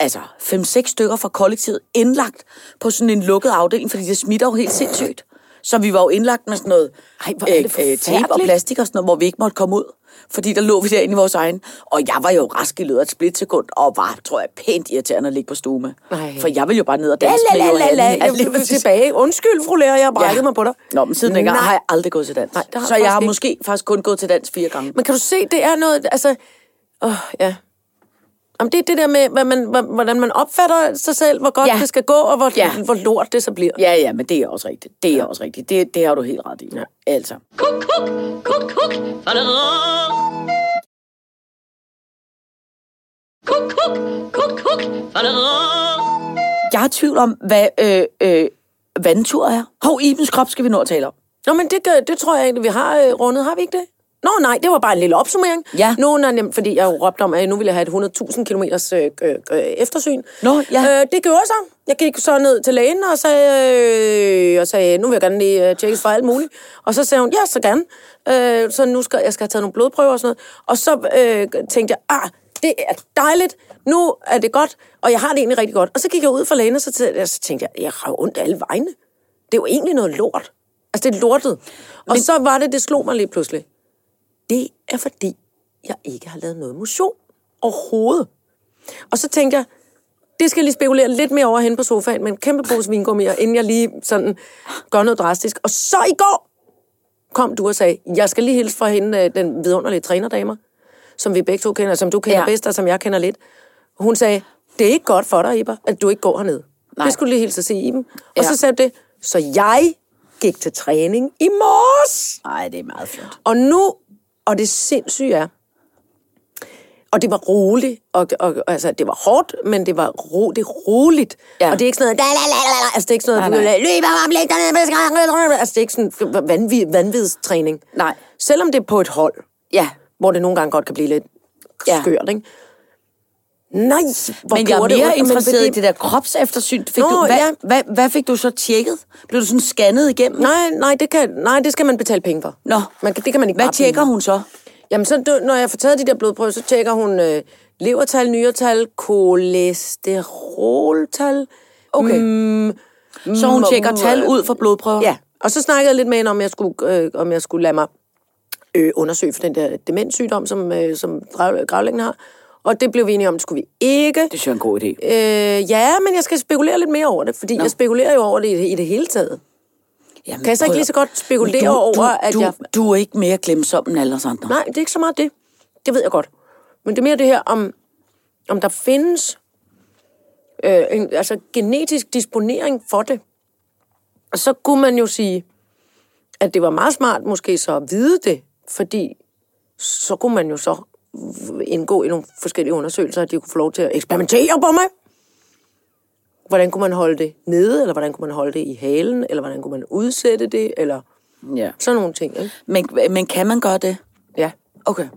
Speaker 3: altså 5-6 stykker fra kollektivet indlagt på sådan en lukket afdeling, fordi det smitter jo helt sindssygt. Så vi var jo indlagt med sådan noget
Speaker 5: Ej, hvor er det
Speaker 3: tape og
Speaker 5: forfærdeligt.
Speaker 3: plastik og sådan noget, hvor vi ikke måtte komme ud. Fordi der lå vi derinde i vores egen. Og jeg var jo rask i løbet af et splitsekund, og var, tror jeg, pænt irriterende at ligge på stue med.
Speaker 5: Ej.
Speaker 3: For jeg ville jo bare ned og
Speaker 5: La,
Speaker 3: danse
Speaker 5: la,
Speaker 3: med
Speaker 5: la, la,
Speaker 3: Johanne.
Speaker 5: la.
Speaker 3: Ja,
Speaker 5: Jeg
Speaker 3: lige
Speaker 5: blev
Speaker 3: præcis.
Speaker 5: tilbage. Undskyld, fru lærer, jeg har brækket ja. mig på dig.
Speaker 3: Nå, men siden dengang
Speaker 5: Nej.
Speaker 3: har jeg aldrig gået til dans. Nej,
Speaker 5: det har
Speaker 3: så
Speaker 5: jeg
Speaker 3: jeg har
Speaker 5: faktisk
Speaker 3: måske faktisk kun gået til dans fire gange.
Speaker 5: Men kan du se, det er noget, altså... Åh, oh, ja. Jamen, det er det der med, hvad man, hva- hvordan man opfatter sig selv, hvor godt ja.
Speaker 3: Ja.
Speaker 5: det skal gå, og hvor, ja.
Speaker 3: Ja.
Speaker 5: hvor lort det så bliver.
Speaker 3: Ja, ja, men det er også rigtigt. Det er også rigtigt. Det, det har du helt ret i. Ja. Altså.
Speaker 2: Kuk, kuk, kuk, kuk. Fadadadada. Kuk, kuk, kuk, kuk. Fadadadada.
Speaker 3: Jeg har tvivl om, hvad øh, øh, vandtur er. Hov, Ibens krop skal vi nå at tale om.
Speaker 5: Nå, men det, gør- det tror jeg egentlig, vi har øh, rundet. Har vi ikke det? Nå, nej, det var bare en lille opsummering.
Speaker 3: Ja.
Speaker 5: Nogen er nemt, fordi jeg jo råbte om, at nu ville jeg have et 100.000 km øh, øh, øh, eftersyn.
Speaker 3: Nå, ja.
Speaker 5: Øh, det gjorde jeg så. Jeg gik så ned til lægen og sagde, øh, og sagde nu vil jeg gerne lige øh, tjekkes for alt muligt. Og så sagde hun, ja, så gerne. Øh, så nu skal jeg skal have taget nogle blodprøver og sådan noget. Og så øh, tænkte jeg, ah, det er dejligt, nu er det godt, og jeg har det egentlig rigtig godt. Og så gik jeg ud fra lægen, og så, tæ- og så tænkte jeg, jeg har jo ondt alle vegne. Det er jo egentlig noget lort. Altså, det er lortet. Og Men... så var det, det slog mig lige pludselig. Det er fordi, jeg ikke har lavet noget motion overhovedet. Og så tænkte jeg, det skal jeg lige spekulere lidt mere over hen på sofaen med en kæmpe pose vingummier, inden jeg lige sådan gør noget drastisk. Og så i går kom du og sagde, jeg skal lige hilse fra hende, øh, den vidunderlige trænerdamer, som vi begge to kender, som du kender ja.
Speaker 3: Ja.
Speaker 5: bedst, og som jeg kender lidt. Hun sagde, det er ikke godt for dig, Iber, at du ikke går herned. Nej.
Speaker 3: Nej.
Speaker 5: Det skulle du lige hilse at sige Iben. Ja.
Speaker 3: Ja.
Speaker 5: Og så sagde du det, så jeg gik til træning i morges.
Speaker 3: Nej, det er meget flot.
Speaker 5: Og nu, og det sindssyge er, og det var roligt, og, og altså, det var hårdt, men det var ro, det er roligt. Ja.
Speaker 3: Ja.
Speaker 5: Og det er ikke sådan noget, la, la, la, la, la. altså det er ikke sådan noget,
Speaker 3: Nej, nej.
Speaker 5: løb om, læg dig ned, med skrækken." altså det er ikke sådan vanvid, vanvidstræning.
Speaker 3: Nej.
Speaker 5: Selvom det er på et hold,
Speaker 3: Ja.
Speaker 5: hvor det nogle gange godt kan blive lidt ja.
Speaker 3: Ja.
Speaker 5: skørt, ikke? Nej, hvor
Speaker 3: Men jeg er
Speaker 5: gjorde
Speaker 3: mere
Speaker 5: ondt, men
Speaker 3: interesseret
Speaker 5: fordi-
Speaker 3: i det der kropseftersyn. Fik
Speaker 5: Nå,
Speaker 3: du, hvad,
Speaker 5: ja.
Speaker 3: hvad, hvad fik du så tjekket? Blev du sådan scannet igennem?
Speaker 5: Nej, nej, det kan, nej, det skal man betale penge for.
Speaker 3: Nå.
Speaker 5: Man, kan- det kan man ikke
Speaker 3: Hvad
Speaker 5: bare
Speaker 3: tjekker hun så?
Speaker 5: Jamen, så, dø- når jeg får taget de der blodprøver, så tjekker hun øh, levertal, nyretal, kolesteroltal.
Speaker 3: Okay. Mm, så hun
Speaker 5: mm,
Speaker 3: tjekker
Speaker 5: mm,
Speaker 3: tal
Speaker 5: øh,
Speaker 3: ud fra blodprøver?
Speaker 5: Ja, og så snakkede jeg lidt med hende, om jeg skulle, øh, om jeg skulle lade mig øh, undersøge for den der demenssygdom, som, øh, som grav- gravlæggen har. Og det blev vi enige om, det skulle vi ikke.
Speaker 3: Det synes jeg er en god idé.
Speaker 5: Øh, ja, men jeg skal spekulere lidt mere over det, fordi Nå. jeg spekulerer jo over det i, i det hele taget.
Speaker 3: Jamen,
Speaker 5: Kan jeg så ikke
Speaker 3: prøv-
Speaker 5: lige så godt spekulere
Speaker 3: Men
Speaker 5: over,
Speaker 3: du,
Speaker 5: at
Speaker 3: du,
Speaker 5: jeg-
Speaker 3: Du er ikke mere glemsom end alle os andre.
Speaker 5: Nej, det er ikke så meget det. Det ved jeg godt. Men det er mere det her, om, om der findes øh, en altså, genetisk disponering for det. Og så kunne man jo sige, at det var meget smart måske så at vide det, fordi så kunne man jo så indgå i nogle forskellige undersøgelser, at de kunne få lov til at eksperimentere på mig. Hvordan kunne man holde det nede, eller hvordan kunne man holde det i halen, eller hvordan kunne man udsætte det, eller
Speaker 3: Ja.
Speaker 5: sådan nogle ting. Ikke?
Speaker 3: Men, men kan man gøre det?
Speaker 5: Ja,
Speaker 3: Okay.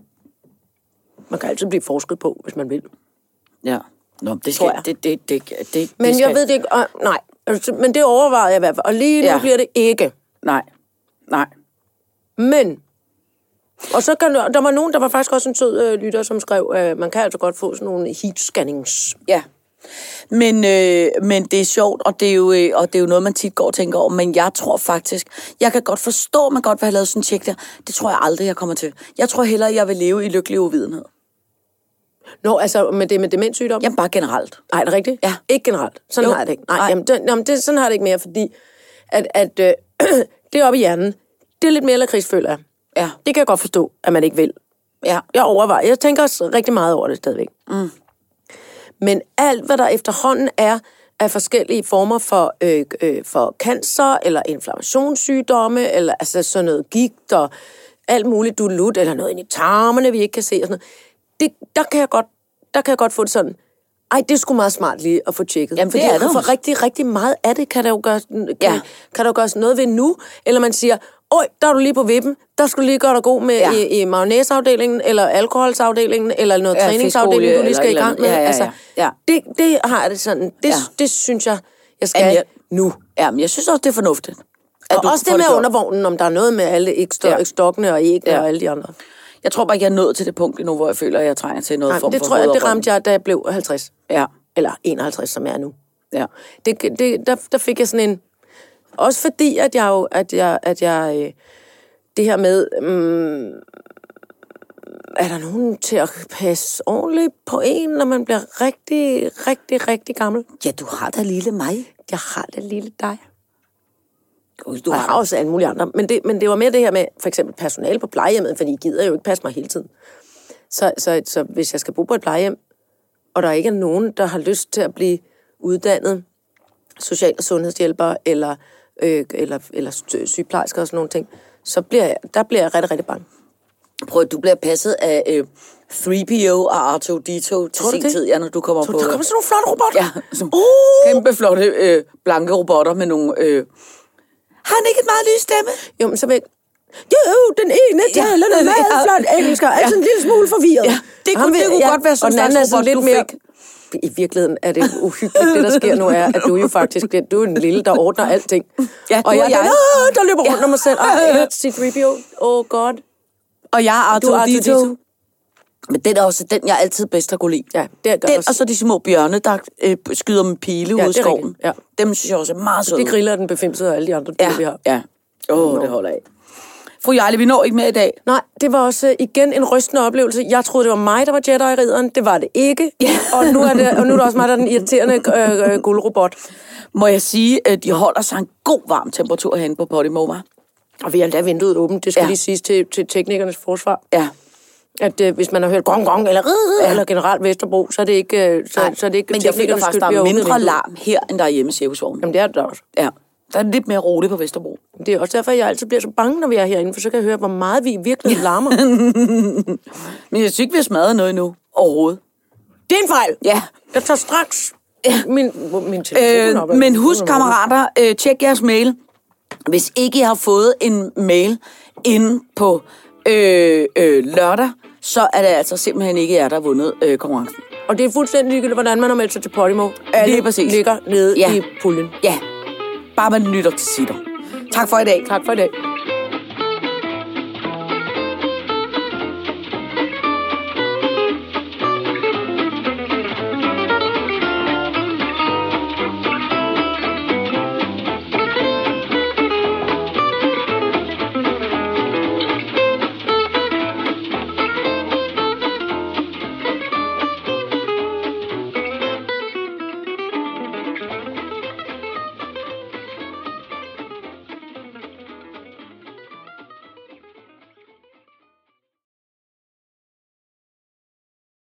Speaker 5: man kan altid blive forsket på, hvis man vil.
Speaker 3: Ja. Nå, det
Speaker 5: Tror
Speaker 3: skal...
Speaker 5: jeg.
Speaker 3: Det, det, det, det,
Speaker 5: Men
Speaker 3: det
Speaker 5: det
Speaker 3: skal,
Speaker 5: jeg ved det ikke. Og, nej, altså, men det overvejede jeg i hvert fald. Og lige nu ja.
Speaker 3: Ja.
Speaker 5: bliver det ikke.
Speaker 3: Nej. Nej.
Speaker 5: Men... Og så kan, der var nogen, der var faktisk også en sød øh, lytter, som skrev, øh, man kan altså godt få sådan nogle heat-scannings.
Speaker 3: Ja. Men, øh, men det er sjovt, og det er, jo, øh, og det er jo noget, man tit går og tænker over. Men jeg tror faktisk, jeg kan godt forstå, at man godt vil have lavet sådan en tjek der. Det tror jeg aldrig, jeg kommer til. Jeg tror hellere, jeg vil leve i lykkelig uvidenhed.
Speaker 5: Nå, altså med det med demenssygdom?
Speaker 3: Jamen bare generelt.
Speaker 5: Nej, er det rigtigt?
Speaker 3: Ja.
Speaker 5: Ikke generelt. Sådan
Speaker 3: Jo.
Speaker 5: har jeg det ikke. Nej,
Speaker 3: Nej.
Speaker 5: Jamen, det, jamen det, sådan har jeg det ikke mere, fordi at, at øh, <clears throat> det oppe i hjernen, det er lidt mere lakrids, føler jeg.
Speaker 3: Ja.
Speaker 5: Det kan jeg godt forstå, at man ikke vil.
Speaker 3: Ja.
Speaker 5: Jeg overvejer. Jeg tænker også rigtig meget over det stadigvæk. Mm. Men alt, hvad der efterhånden er af forskellige former for, øh, øh, for cancer, eller inflammationssygdomme, eller altså sådan noget gigt, og alt muligt dulut, eller noget ind i tarmene, vi ikke kan se, og sådan noget. Det, der, kan jeg godt, der kan jeg godt få det sådan, ej, det er sgu meget smart lige at få tjekket.
Speaker 3: Jamen, det
Speaker 5: Fordi
Speaker 3: er det
Speaker 5: For
Speaker 3: også.
Speaker 5: rigtig, rigtig meget af det kan der jo gøres, kan, ja.
Speaker 3: Ja.
Speaker 5: kan der jo gøres noget ved nu. Eller man siger, oj, der er du lige på vippen. Der skulle lige gøre dig god med ja.
Speaker 3: Ja.
Speaker 5: i, i mayonnaise-afdelingen, eller alkoholsafdelingen, eller noget
Speaker 3: Ja,
Speaker 5: træningsafdeling,
Speaker 3: fiskolie
Speaker 5: du lige skal i
Speaker 3: eller et
Speaker 5: gang med. Altså,
Speaker 3: eller andet. Ja, ja, ja. Ja.
Speaker 5: Det, det har jeg det sådan. Det, ja.
Speaker 3: Ja.
Speaker 5: det synes jeg, jeg skal
Speaker 3: Jamen,
Speaker 5: jeg...
Speaker 3: jeg-
Speaker 5: nu.
Speaker 3: Jamen, jeg synes også, det er fornuftigt.
Speaker 5: Og også det med
Speaker 3: undervogn.
Speaker 5: undervognen, om der er noget med alle eksto-
Speaker 3: Ja.
Speaker 5: ja. stokkene og æggene ja.
Speaker 3: Ja.
Speaker 5: og alle de andre.
Speaker 3: Jeg tror bare, ikke, jeg er nået til det punkt endnu, hvor jeg føler, at jeg trænger til noget
Speaker 5: Nej,
Speaker 3: form
Speaker 5: det
Speaker 3: for
Speaker 5: tror jeg, det
Speaker 3: hovedoprytning.
Speaker 5: ramte jeg, da jeg blev 50.
Speaker 3: Ja.
Speaker 5: Eller 51, som jeg er nu.
Speaker 3: Ja.
Speaker 5: Det, det, der, der fik jeg sådan en... Også fordi, at jeg jo... At jeg, at jeg øh, det her med... Mm, er der nogen til at passe ordentligt på en, når man bliver rigtig, rigtig, rigtig gammel?
Speaker 3: Ja, du har da lille mig.
Speaker 5: Jeg har det lille dig.
Speaker 3: Du
Speaker 5: Du har
Speaker 3: har,
Speaker 5: også alle mulige andre. Men det, men det var mere det her med for eksempel personale på plejehjemmet, fordi I gider jo ikke passe mig hele tiden. Så, så, så hvis jeg skal bo på et plejehjem, og der ikke er nogen, der har lyst til at blive uddannet social- og sundhedshjælper, eller, øh, eller, eller sy- sygeplejersker og sådan nogle ting, så bliver jeg, der bliver jeg rigtig, rigtig bange.
Speaker 3: prøv, at- du bliver passet af øh, 3PO og R2-D2 til
Speaker 5: du
Speaker 3: sin
Speaker 5: det?
Speaker 3: tid, ja, når du kommer
Speaker 5: Så
Speaker 3: på...
Speaker 5: der kommer sådan nogle flotte robotter.
Speaker 3: Ja, som uh! kæmpe flotte øh, blanke robotter med nogle... Øh... Har han ikke et meget lys stemme?
Speaker 5: Jo, men så vil jeg... Jo, den ene
Speaker 3: Ja.
Speaker 5: taler ja. meget
Speaker 3: Ja.
Speaker 5: flot engelsk, og er sådan en lille smule forvirret.
Speaker 3: Ja. Det kunne-
Speaker 5: Ham vil-
Speaker 3: det kunne godt være sådan
Speaker 5: og den
Speaker 3: en
Speaker 5: anden er
Speaker 3: slags
Speaker 5: sådan lidt
Speaker 3: robot,
Speaker 5: mere...
Speaker 3: du
Speaker 5: I virkeligheden er det uhyggeligt, det der sker nu er, at du er jo faktisk den, du er den lille, der ordner alting.
Speaker 3: Ja, du
Speaker 5: og jeg
Speaker 3: og
Speaker 5: er den,
Speaker 3: jeg.
Speaker 5: "Åh, der løber rundt
Speaker 3: Ja.
Speaker 5: om mig selv. Og jeg er 3PO. Oh god.
Speaker 3: Og jeg er
Speaker 5: Du er R2D2.
Speaker 3: R2-D2. Men den er også den, jeg altid bedst har kunne lide.
Speaker 5: Ja, det gør
Speaker 3: den,
Speaker 5: også-
Speaker 3: og så de små bjørne, der øh, skyder med pile ja, ud i
Speaker 5: det er
Speaker 3: skoven.
Speaker 5: rigtigt, ja.
Speaker 3: Dem synes jeg også er meget søde.
Speaker 5: Det griller den befimsede og alle de andre dyr, vi
Speaker 3: ja,
Speaker 5: har.
Speaker 3: ja. Åh, oh, det holder jeg af. Fru Jarle, vi når ikke mere i dag.
Speaker 5: Nej, det var også øh, igen en rystende oplevelse. Jeg troede, det var mig, der var Jedi-ridderen. Det var det ikke. Og, nu er det, og nu er det også mig, der er den irriterende øh, øh, guldrobot.
Speaker 3: Må jeg sige, at de holder sig en god varm temperatur herinde på Podimo, hva'?
Speaker 5: Og vi har endda vinduet åbent, det skal ja.
Speaker 3: Ja.
Speaker 5: lige siges til, til teknikernes forsvar.
Speaker 3: Ja.
Speaker 5: At øh, hvis man har hørt gong gong eller rid, ja. eller generelt Vesterbro, så er det ikke, øh, så,
Speaker 3: Nej,
Speaker 5: så er det ikke
Speaker 3: men jeg føler
Speaker 5: teknikernes
Speaker 3: faktisk,
Speaker 5: skyld,
Speaker 3: der
Speaker 5: vi
Speaker 3: er
Speaker 5: har åbnet
Speaker 3: mindre
Speaker 5: vinduet.
Speaker 3: larm her, end der er hjemme i Cirkusvognen.
Speaker 5: Jamen det er det da også.
Speaker 3: Ja, der er lidt mere roligt på Vesterbro.
Speaker 5: Det er også derfor, jeg altid bliver så bange, når vi er herinde, for så kan jeg høre, hvor meget vi virkelig larmer.
Speaker 3: Men jeg synes ikke, vi har smadret noget endnu. Overhovedet.
Speaker 5: det er en fejl!
Speaker 3: Ja.
Speaker 5: Jeg tager straks min, min telefon op.
Speaker 3: Øh, men husk, kammerater, øh, tjek jeres mail. Hvis ikke I har fået en mail inde på øh, øh, lørdag, så er det altså simpelthen ikke jer, der har vundet øh, konkurrencen.
Speaker 5: Og det er fuldstændig ligegyldigt, hvordan man har meldt sig til Podimo. Alle
Speaker 3: Lige præcis.
Speaker 5: ligger nede
Speaker 3: Ja.
Speaker 5: i puljen.
Speaker 3: Ja, bare man lytter til sitter. Tak for i dag.
Speaker 5: Tak for i dag.